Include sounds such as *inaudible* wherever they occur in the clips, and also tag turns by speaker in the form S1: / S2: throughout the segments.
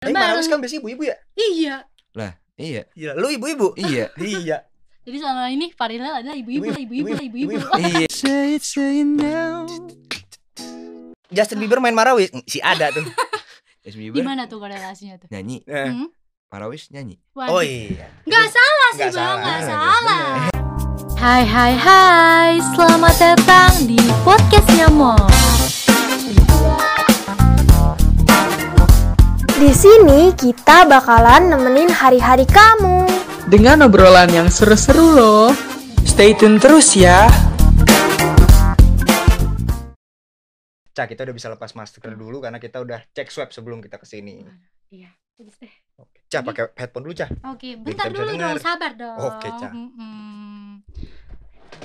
S1: Tapi Maramis kan biasanya ibu-ibu ya?
S2: Iya.
S3: Iya,
S1: Iya, lu ibu-ibu.
S3: *laughs* iya,
S1: Iya.
S2: Jadi selama ini Farila adalah ibu-ibu, lah,
S1: Ibu-ibu,
S2: ibu-ibu, lah,
S1: ibu-ibu,
S2: ibu-ibu. Oh,
S1: ibu-ibu.
S3: iya. *laughs* Say it, say it now.
S1: Justin Bieber main Marawis si ada
S2: *laughs*
S1: tuh.
S3: Justin Bieber
S2: Gimana tuh korelasinya tuh?
S3: nyanyi,
S1: Nah.
S2: Hmm?
S3: Marawis nyanyi.
S1: Oh
S2: Waduh.
S1: iya.
S2: Nggak salah sih
S1: Nggak
S2: bang,
S1: salah.
S2: nggak
S3: Bener.
S2: salah. Hai hai hai, selamat datang di podcast Nyamong.
S4: Di sini kita bakalan nemenin hari-hari kamu.
S5: dengan obrolan yang seru-seru loh.
S6: Stay tune terus ya.
S1: Cak, kita udah bisa lepas masker dulu karena kita udah cek swab sebelum kita kesini. Oke. Cak, pakai headphone dulu, Cak.
S2: eh, Oke, bentar
S1: kita bisa
S2: dulu
S1: dengar.
S2: dong, sabar dong. Hmm,
S1: Oke, Cak.
S2: Mm-mm.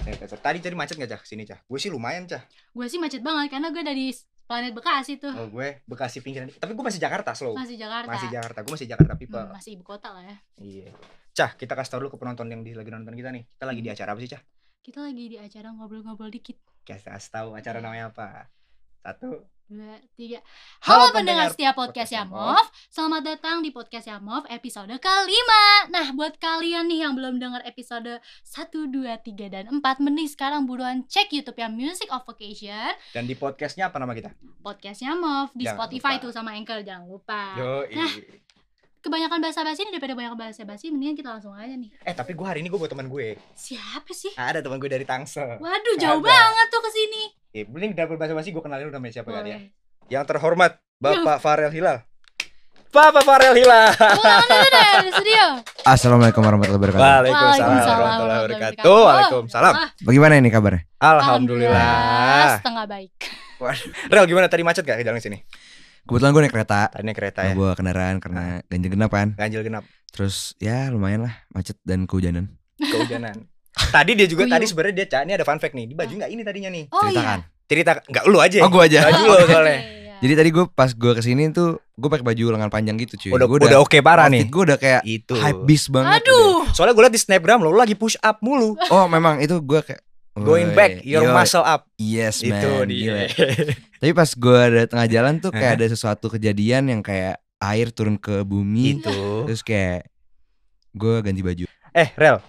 S1: Eh, Tadi tadi macet nggak, Cak? Sini, Cak. Gue sih lumayan, Cak.
S2: Gue sih macet banget karena gue dari planet Bekasi tuh.
S1: Oh, gue Bekasi pinggiran. Tapi gue masih Jakarta, slow.
S2: Ah. Masih Jakarta.
S1: Oh, Masih Jakarta. Gue masih Jakarta people.
S2: Hmm, masih ibu kota lah ya.
S1: Iya. Cah, kita kasih tau dulu ke penonton yang di, lagi nonton kita nih. Kita lagi di acara apa sih, Cah?
S2: Kita lagi di acara ngobrol-ngobrol dikit.
S1: Kita kasih tahu acara namanya apa. Satu.
S2: Dua, tiga.
S1: Iya. Halo
S2: Halo, pendengar
S1: pendengar
S2: setiap podcast
S1: podcast
S2: Yamov. Selamat datang di podcast Yamov episode kelima. Nah, buat kalian nih yang belum dengar episode 1, 2, 3, dan 4, mending sekarang buruan cek YouTube yang Music of Vacation,
S1: Dan di podcastnya apa nama kita?
S2: podcast Yamov, di
S1: Jangan
S2: Spotify
S1: lupa.
S2: tuh sama Anchor, jangan lupa.
S1: Yo,
S2: Nah. Kebanyakan bahasa-basi ini daripada banyak bahasa-basi, mendingan kita langsung aja nih.
S1: Eh, tapi gue hari ini gue buat teman gue.
S2: Siapa sih?
S1: Ada teman gue dari Tangsel.
S2: Waduh, jauh
S1: Ah, Ada.
S2: banget tuh ke sini.
S1: Eh, mending double bahasa basi gue kenalin lu namanya siapa kali ya.
S2: Boleh.
S1: Yang terhormat Bapak Farel Hilal. Bapak Farel Hilal.
S2: Ulang dulu deh dari studio.
S3: Assalamualaikum warahmatullahi wabarakatuh.
S1: warahmatullahi wabarakatuh. Waalaikumsalam.
S3: Bagaimana ini kabarnya?
S2: Alhamdulillah.
S1: Alhamdulillah.
S2: Setengah baik.
S1: Rel gimana tadi macet gak di jalan sini?
S3: Kebetulan gue naik kereta,
S1: Tadinya kereta ya.
S3: Gua bawa kendaraan
S1: Ah.
S3: karena ganjil genap kan.
S1: Ganjil *laughs* genap,
S3: Terus ya lumayan lah macet dan kehujanan.
S1: kehujanan. Tadi dia juga
S2: Kuyup.
S1: tadi sebenarnya dia Cak, ini ada fun fact nih. Di baju nggak ini tadinya nih.
S2: Oh
S3: Ceritakan.
S1: Cerita nggak lu aja.
S3: kan? Oh gue aja.
S1: Baju lo soalnya.
S2: iya.
S3: *laughs* Jadi tadi gue pas gue kesini tuh gue pakai baju lengan panjang gitu cuy.
S1: Udah
S3: Gua
S1: udah, oke parah nih. Gitu.
S3: Gue udah kayak gitu.
S1: Itu.
S3: hype beast banget.
S2: Aduh.
S1: Soalnya gue liat di snapgram lo, lo lagi push up mulu.
S3: udah. Oh memang itu gue kayak
S1: Going
S3: "Woi,
S1: back your
S3: yo,
S1: muscle up.
S3: Yes man.
S1: Itu
S3: *laughs* gila.
S1: dia.
S3: Tapi pas gue ada tengah jalan tuh
S1: Hah?
S3: kayak ada sesuatu kejadian yang kayak air turun ke bumi.
S1: itu.
S3: Terus kayak gue ganti baju.
S1: Eh, Rel.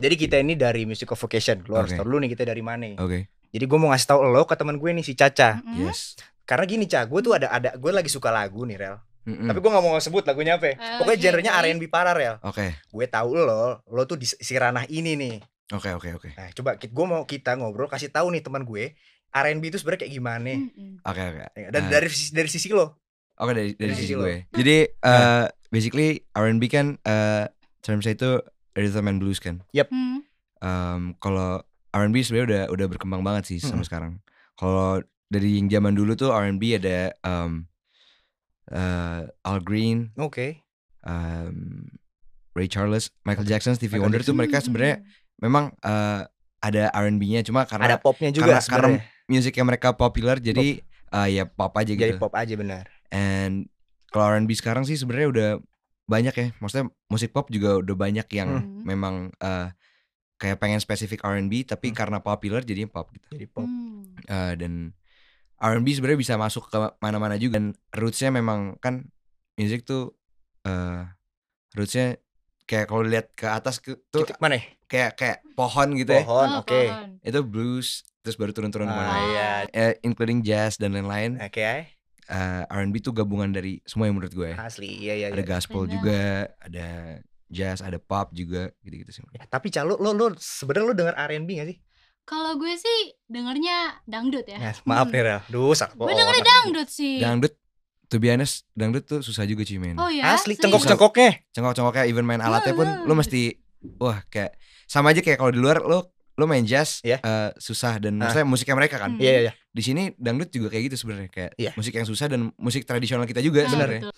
S1: Jadi kita ini dari Music of Vocation. Lo harus
S3: Oke.
S1: tau
S3: Oh.
S1: dulu nih kita dari mana.
S3: Oke.
S1: Jadi gue mau ngasih tau lo ke teman gue nih si
S3: ah,
S1: Caca.
S2: Mm-mm.
S3: Yes.
S1: Karena gini, Ca, gue tuh ada ada gue lagi suka lagu nih, Rel.
S3: Mm-mm.
S1: Tapi gue nggak mau sebut lagunya apa. ya.
S2: Ah, Oke.
S1: Pokoknya genrenya R&B parah, Rel.
S3: Oke.
S1: Gue tahu lo, lo tuh di si ranah ini nih.
S3: Oke oke oke.
S1: Nah, coba gue mau kita ngobrol kasih tahu nih teman gue R&B itu sebenarnya kayak gimana.
S2: Mm-mm.
S3: Oke oke.
S1: Ya, Dan
S3: Nah.
S1: dari sisi- dari sisi lo.
S3: Oke dari
S1: Dari
S3: dari sisi
S1: sisi lo. Nah.
S3: gue. Jadi eh, basically R&B kan eh term saya itu rhythm and blues kan.
S2: Mm.
S3: Em, kalau R&B sebenarnya udah udah berkembang banget sih sama
S1: Mm-mm.
S3: sekarang. Kalau dari yang zaman dulu tuh R&B ada em eh, Al Green,
S1: Oke.
S3: em, Ray Charles, Michael Jackson, Stevie
S1: Michael
S3: Wonder tuh mereka sebenarnya
S2: Hmm,
S3: memang eh, ada R&B-nya cuma
S1: Ada
S3: karena
S1: popnya juga
S3: karena, karena musiknya mereka populer jadi eh, ya pop aja gitu.
S1: Jadi pop aja benar.
S3: And kalau R&B sekarang sih sebenarnya udah banyak ya. Maksudnya musik pop juga udah banyak yang
S2: Hmm.
S3: memang eh, kayak pengen spesifik R&B tapi
S1: Hmm.
S3: karena populer jadi pop gitu.
S1: Jadi pop.
S2: Mm.
S3: Eh, dan R&B sebenarnya bisa masuk ke mana-mana juga. Dan rootsnya memang kan musik tuh eh rootsnya kayak kalau lihat ke atas ke, tuh
S1: Titik mana? ya?
S3: kayak kayak pohon gitu ya.
S1: Pohon,
S2: Oh,
S1: oke.
S2: pohon.
S3: Itu blues terus baru turun-turun
S1: Ah,
S3: kemana.
S1: iya.
S3: Eh, including jazz dan lain-lain.
S1: Oke, ya. ay.
S3: Eh, R&B tuh gabungan dari semua yang menurut gue. ya.
S1: asli. Iya, iya,
S3: ada
S1: iya.
S3: gospel
S2: Bener.
S3: juga, ada jazz, ada pop juga, gitu-gitu sih.
S1: Ya, tapi Ca, lo lo, lo sebenarnya lo denger R&B gak sih?
S2: Kalau gue sih dengernya dangdut ya.
S1: Ya, maaf
S2: Mm.
S1: nih, Rel. Duh, sak
S2: Gue
S3: Oh,
S1: bohong.
S2: dengernya dangdut
S1: Iya.
S2: sih.
S3: Dangdut, to be honest, dangdut tuh susah juga cuy men.
S2: Oh ya.
S1: Asli
S2: serius.
S1: cengkok-cengkoknya.
S3: Cengkok-cengkoknya even main
S1: Iya,
S3: alatnya pun
S2: Wah.
S3: lo mesti wah kayak sama aja kayak kalau di luar lo lo main jazz
S1: Iya.
S3: eh, susah dan
S1: Ah.
S3: maksudnya musiknya mereka kan.
S2: Hmm.
S1: Iya, iya, iya.
S3: Di sini dangdut juga kayak gitu sebenarnya kayak
S1: Iya.
S3: musik yang susah dan musik tradisional kita
S2: Nah,
S3: juga sebenarnya.
S2: betul.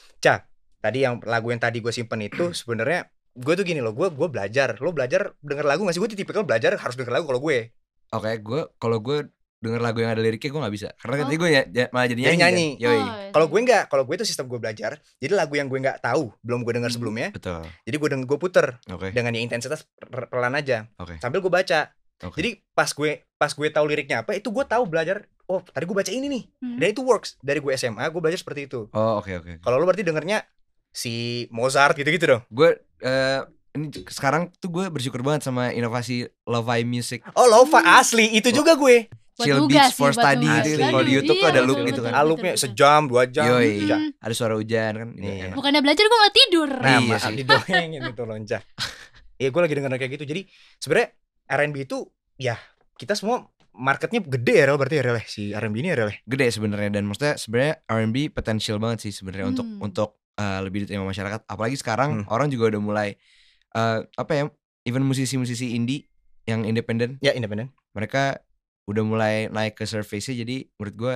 S1: Tadi yang lagu yang tadi gue simpen itu sebenarnya gue tuh gini loh, gue gue belajar. Lo belajar denger lagu gak sih? Gue tuh tipikal belajar harus denger lagu kalau gue.
S3: Oke, gue kalau gue denger lagu yang ada liriknya gue nggak bisa karena nanti
S2: Oh.
S3: gue ya, ya- malah jadi
S1: Jadi
S3: nyanyi. kan.
S1: nyanyi. iya.
S3: Yoi.
S2: Oh,
S1: Kalau gue nggak, kalau gue itu sistem gue belajar. Jadi lagu yang gue nggak tahu, belum gue denger
S2: Hmm.
S1: sebelumnya.
S3: Betul.
S1: Jadi gue denger gue puter
S3: Oke.
S1: dengan yang intensitas per- pelan aja.
S3: Oke.
S1: Sambil gue baca.
S3: Oke.
S1: Jadi pas gue pas gue tahu liriknya apa, itu gue tahu belajar. Oh, tadi gue baca ini nih.
S2: Hmm.
S1: Dan itu works. Dari gue SMA gue belajar seperti itu.
S3: Oh, oke oke. oke.
S1: Kalau lo berarti dengernya si Mozart gitu-gitu dong.
S3: Gue eh ini sekarang tuh gue bersyukur banget sama inovasi lo-fi music.
S1: Oh, lo-fi
S2: Hmm.
S1: asli itu juga gue.
S2: Buat
S3: Chill
S2: nugas
S3: Beats
S2: sih,
S3: for
S2: buat
S3: Study
S2: nugas.
S3: itu
S1: Asli.
S3: kalau di
S1: Aduh,
S3: YouTube tuh
S2: iya,
S3: ada loop
S2: betul,
S3: gitu kan. iya.
S2: betul. Hmm.
S1: Alupnya sejam, dua jam.
S3: Yoi.
S1: tiga jam.
S3: Ada suara hujan kan. ini
S1: Iya.
S3: enak.
S2: Bukannya belajar gue malah tidur.
S1: Nah,
S3: Iya
S1: maaf
S3: sih.
S1: didoengin itu loncat. Iya, gue lagi denger kayak gitu. Jadi sebenarnya R&B itu ya kita semua marketnya gede ya Rel berarti ya Rel ya, si R&B ini ya Rel ya.
S3: Gede sebenarnya dan maksudnya sebenarnya R&B potensial banget sih sebenarnya untuk
S2: Hmm.
S3: untuk eh, lebih diterima masyarakat. Apalagi sekarang
S1: Hmm.
S3: orang juga udah mulai eh, apa ya? Even musisi-musisi indie yang independen
S1: Ya independen.
S3: mereka udah mulai naik ke surface jadi menurut gue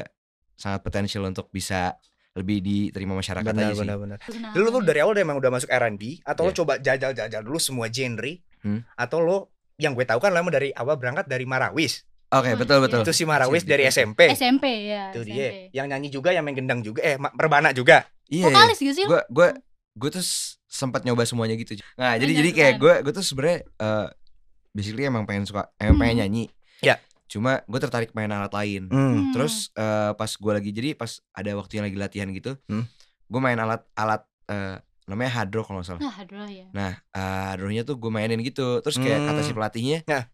S3: sangat potensial untuk bisa lebih diterima masyarakat aja
S1: Benar
S3: sih.
S1: benar benar.
S2: Gitu, Kenapa
S1: Lu, lu
S2: nih?
S1: dari awal udah emang udah masuk R&B atau lo
S3: Iya.
S1: coba jajal-jajal dulu semua genre
S3: Hmm.
S1: atau lo yang gue tahu kan lo emang dari awal berangkat dari Marawis. Hmm,
S2: Wah,
S3: Oke, betul betul.
S1: Itu si Marawis
S3: Sip,
S1: dari
S3: sip.
S1: SMP.
S2: SMP ya.
S1: Itu
S2: SMP.
S1: dia. Yang nyanyi juga, yang main gendang juga, eh ma- perbana juga.
S3: Iya. iya.
S2: Vokalis gak gitu sih? lu?
S3: Gue gue gue tuh s- sempat nyoba semuanya gitu. Nah, jadi
S2: Benar,
S3: jadi kayak
S2: benar.
S3: gue gue tuh sebenarnya eh basically emang pengen suka emang pengen
S2: Hmm.
S3: nyanyi.
S1: Ya.
S3: Cuma gue tertarik main alat lain.
S2: Hmm.
S3: Terus eh, pas gue lagi jadi pas ada waktu yang lagi latihan gitu,
S1: Hmm.
S3: gue main alat alat eh, namanya hard rock kalau nggak salah.
S2: Nah, aduh ya.
S3: Nah, eh rohnya tuh gue mainin gitu. Terus
S1: Hmm.
S3: kayak kata si pelatihnya,
S1: Nah.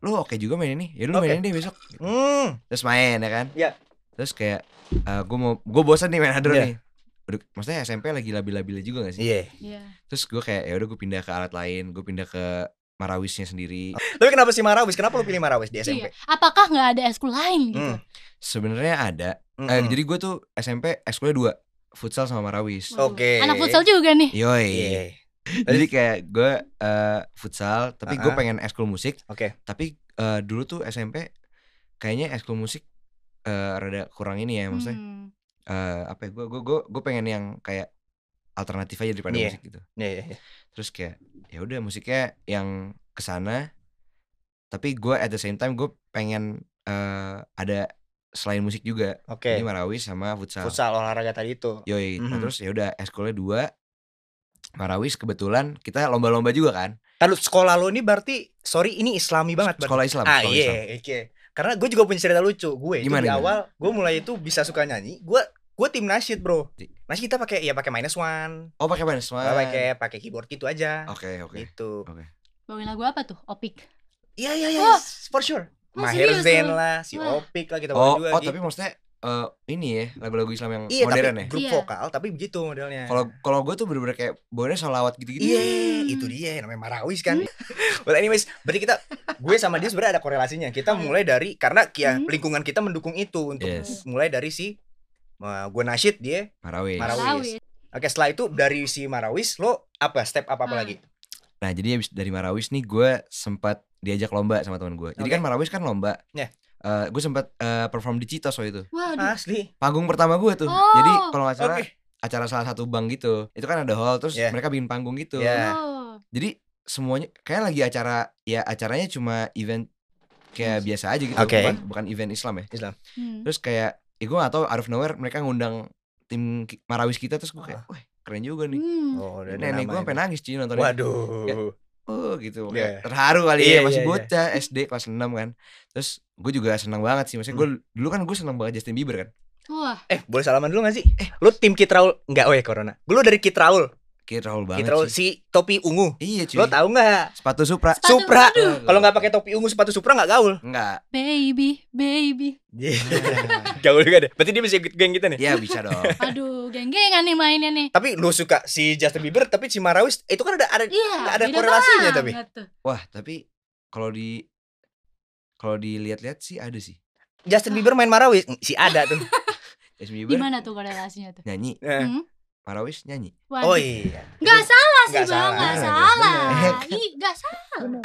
S3: lu oke juga main ini, ya lu
S1: Oke.
S3: mainin deh besok.
S1: Hmm.
S3: Terus main ya kan?
S1: Iya.
S3: Terus kayak eh gue mau gue bosan nih main hadron
S1: Iya.
S3: nih. Udah, maksudnya SMP lagi labil-labilnya juga gak sih?
S1: Iya.
S2: Iya.
S3: Terus gue kayak ya udah gue pindah ke alat lain, gue pindah ke marawisnya sendiri.
S1: Tapi kenapa si Marawis? Kenapa lo pilih Marawis di SMP?
S2: Iya. Apakah nggak ada eskul lain gitu?
S1: Hmm.
S3: Sebenarnya ada.
S1: Hmm.
S3: Eh, jadi gue tuh SMP eskulnya eh, dua, futsal sama marawis.
S2: Waduh,
S1: Oke.
S2: Anak futsal juga nih.
S3: Yoi.
S1: Iya.
S3: Jadi kayak gue eh, futsal, tapi gue
S1: Ah-ah.
S3: pengen eskul musik.
S1: Oke.
S3: Tapi eh, dulu tuh SMP kayaknya eskul musik eh, rada kurang ini ya maksudnya.
S2: Hmm.
S3: eh, apa ya? Gue gue gue gue pengen yang kayak alternatif aja daripada
S1: Iya.
S3: musik gitu.
S1: Iya, iya, iya.
S3: Terus kayak ya udah musiknya yang kesana. Tapi gue at the same time gue pengen eh, ada selain musik juga.
S1: Oke.
S3: Jadi marawis sama futsal.
S1: Futsal olahraga tadi itu.
S3: Yoi. Nah,
S1: Mhm.
S3: terus ya udah eskulnya dua. Marawis kebetulan kita lomba-lomba juga kan.
S1: Lalu sekolah lo ini berarti sorry ini islami banget berarti.
S3: Sekolah Islam.
S1: Ah
S3: sekolah
S1: iya,
S3: Islam.
S1: oke. Karena gue juga punya cerita lucu. Gue itu
S3: Gimana,
S1: di
S3: gimana?
S1: awal gue mulai itu bisa suka nyanyi. Gue gue tim nasyid bro. Nasyid kita pakai ya pakai minus one,
S3: Oh pakai mana semua?
S1: pakai pakai keyboard gitu aja.
S3: Oke oke.
S1: Gitu.
S2: Bawain lagu apa tuh? Opik.
S1: Iya iya iya,
S2: Oh.
S1: for sure.
S2: Oh,
S1: Maher
S2: serius
S1: Zain
S2: lu?
S1: lah, si
S2: Wah.
S1: Opik lah kita bawa
S3: Oh,
S1: juga.
S3: oh
S1: gitu.
S3: tapi maksudnya eh, ini ya lagu-lagu Islam yang
S1: iya,
S3: modern
S1: tapi
S3: ya.
S1: grup
S2: Iya.
S1: vokal tapi begitu modelnya.
S3: Kalau kalau gue tuh bener-bener kayak bawaannya salawat gitu-gitu.
S1: Iya, itu dia namanya Marawis kan. *laughs*
S2: Hmm.
S1: Well anyways, berarti kita gue sama dia sebenarnya ada korelasinya. Kita mulai dari karena ya,
S2: Hmm.
S1: lingkungan kita mendukung itu untuk
S3: Yes.
S1: mulai dari si eh, gue nasyid dia
S3: Marawis.
S1: Marawis.
S2: Marawis.
S1: Oke setelah itu dari si Marawis lo apa step apa apa
S2: Ah.
S1: lagi?
S3: Nah jadi abis dari Marawis nih gue sempat diajak lomba sama teman gue. Jadi
S1: Oke.
S3: kan Marawis kan lomba.
S1: Iya.
S3: Eh, gue sempat eh, perform di Citos waktu itu.
S2: Waduh.
S1: Asli.
S3: Panggung pertama gue tuh.
S2: Oh.
S3: Jadi kalau nggak salah
S1: Oke.
S3: acara salah satu bank gitu. Itu kan ada hall terus
S1: Iya.
S3: mereka bikin panggung gitu.
S1: Iya.
S2: Oh.
S3: Jadi semuanya kayak lagi acara ya acaranya cuma event kayak biasa aja gitu.
S1: Oke.
S3: Bukan, bukan event Islam ya.
S2: Hmm.
S3: Terus kayak eh gue gak tau out of nowhere mereka ngundang tim ki- Marawis kita terus gue kayak wah keren juga nih.
S2: Hmm.
S1: Oh, udah ada
S3: Nenek gue
S1: namanya.
S3: sampai nangis cuy nontonnya.
S1: Waduh.
S3: oh gitu
S1: Iya.
S3: kayak terharu kali
S1: Iya,
S3: ya
S1: iya,
S3: masih
S1: iya.
S3: bocah SD kelas 6 kan terus gue juga senang banget sih maksudnya gue
S1: Hmm.
S3: dulu kan gue senang banget Justin Bieber kan
S2: Wah.
S1: Eh boleh salaman dulu gak sih? Eh lo tim Kit Raul nggak? Oh ya Corona. Gue lo dari Kit Raul.
S3: kayak Raul banget
S1: Kit Raul si
S3: sih.
S1: topi ungu.
S3: iya cuy
S1: Lo tahu nggak?
S3: sepatu Supra Eh,
S2: Sepatu-
S1: Supra.
S2: aduh.
S1: Kalau nggak
S3: *laughs*
S1: pakai topi ungu sepatu Supra nggak gaul.
S3: enggak
S2: Baby, baby.
S3: Iya.
S1: *laughs* gaul juga deh. Berarti dia bisa ikut geng kita nih.
S3: ya bisa dong
S2: Aduh, geng-gengan nih mainnya nih.
S1: Tapi lo suka si Justin Bieber tapi si Marawis itu kan ada ada
S2: Iya.
S1: Nggak ada
S2: beda
S1: korelasinya
S2: banget
S1: tapi.
S2: tuh.
S3: wah tapi kalau di kalau dilihat-lihat sih ada sih
S1: Justin Bieber main Marawis si ada tuh.
S3: Justin Bieber
S2: Gimana tuh korelasinya tuh?
S3: nyanyi
S1: Eh.
S2: Hmm?
S3: Marawis nyanyi
S1: Oh
S2: Waduh.
S1: iya.
S2: Gak salah sih
S1: Nggak
S2: bang,
S1: salah.
S2: gak salah.
S3: Bener.
S2: Ih, gak salah.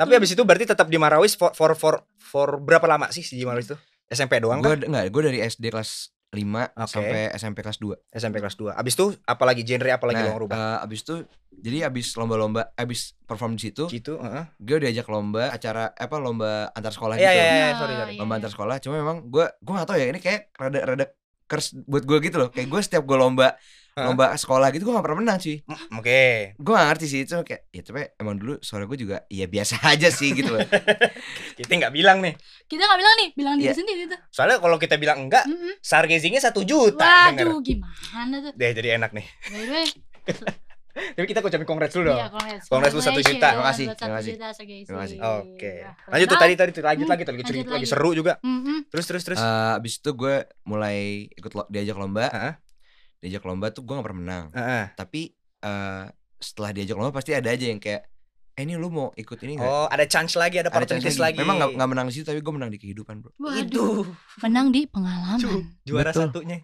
S1: Tapi habis itu berarti tetap di Marawis for for for, for berapa lama sih si Marawis tuh? SMP doang
S3: gue
S1: kan?
S3: enggak gue dari SD kelas 5
S1: Oke.
S3: sampai SMP kelas 2
S1: SMP kelas 2. Abis itu apalagi genre apalagi
S3: nah
S1: lo ngerubah?
S3: eh, abis itu jadi abis lomba-lomba abis perform di situ
S1: gitu, heeh.
S3: gue diajak lomba acara apa lomba antar sekolah
S1: Iya,
S3: gitu
S1: iya, iya,
S2: Nah,
S1: sorry, sorry.
S2: iya.
S3: lomba antar sekolah cuma memang gue gue gak tau ya ini kayak rada rada curse buat gue gitu loh kayak gue setiap gue lomba
S1: Hah?
S3: lomba sekolah gitu gue gak pernah menang sih
S1: Mm, Oke.
S3: gue gak ngerti sih itu kayak ya tapi emang dulu suara gue juga ya biasa *laughs* aja sih gitu loh
S1: Kita nggak bilang nih.
S2: Kita nggak bilang nih, bilang diri
S3: Iya.
S2: sendiri tuh.
S1: Soalnya kalau kita bilang enggak,
S2: Mm-mm.
S1: sargazingnya satu juta. Ah, denger.
S2: Waduh, gimana tuh?
S1: Deh jadi enak nih. *laughs*
S2: By the way,
S1: Tapi kita ucapin congrats dulu dong.
S2: iya, congrats.
S1: Congrats lu satu juta.
S3: Terima kasih,
S2: Buat satu
S3: terima kasih.
S2: juta, Sergei
S3: Terima kasih.
S2: Sri.
S1: Oh, Oke.
S2: Wah, keren
S1: Lanjut tuh
S2: banget.
S1: tadi tadi tuh lanjut lagi tuh
S2: Nah, Hmm,
S1: lagi
S2: lanjut
S1: cerita lagi
S2: lagi.
S1: seru juga.
S2: Mm-mm.
S1: Terus terus *laughs* terus.
S3: Eh, abis itu gue mulai ikut lo- diajak lomba
S1: Heeh.
S3: diajak lomba tuh gue gak pernah menang
S1: Heeh.
S3: tapi eh setelah diajak lomba pasti ada aja yang kayak eh ini lu mau ikut ini gak?
S1: Oh, ada chance lagi, ada opportunity lagi.
S3: Memang gak, gak menang di situ tapi gue menang di kehidupan bro
S2: Waduh,
S1: Aduh,
S2: menang di pengalaman.
S1: Cu, juara
S3: Betul.
S1: satunya.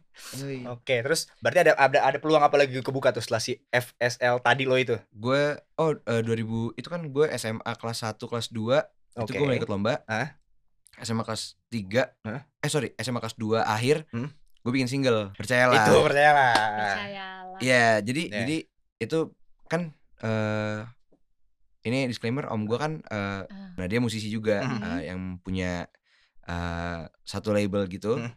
S1: Oke, terus berarti ada ada ada peluang apa lagi kebuka tuh setelah si FSL tadi lo itu?
S3: Gue oh eh, 2000 itu kan gue SMA kelas 1 kelas 2 itu
S1: Oke.
S3: gue mau ikut lomba.
S1: Hah?
S3: SMA kelas 3
S1: Hah?
S3: eh sorry SMA kelas 2 akhir
S1: Hmm.
S3: gue bikin single percayalah.
S1: Itu percayalah.
S2: Percayalah.
S3: Iya jadi
S1: Ya.
S3: jadi itu kan eh ini disclaimer om gue kan eh
S2: Ah.
S3: nah dia musisi juga
S1: Mhm.
S3: eh, yang punya eh satu label gitu.
S1: Hmm.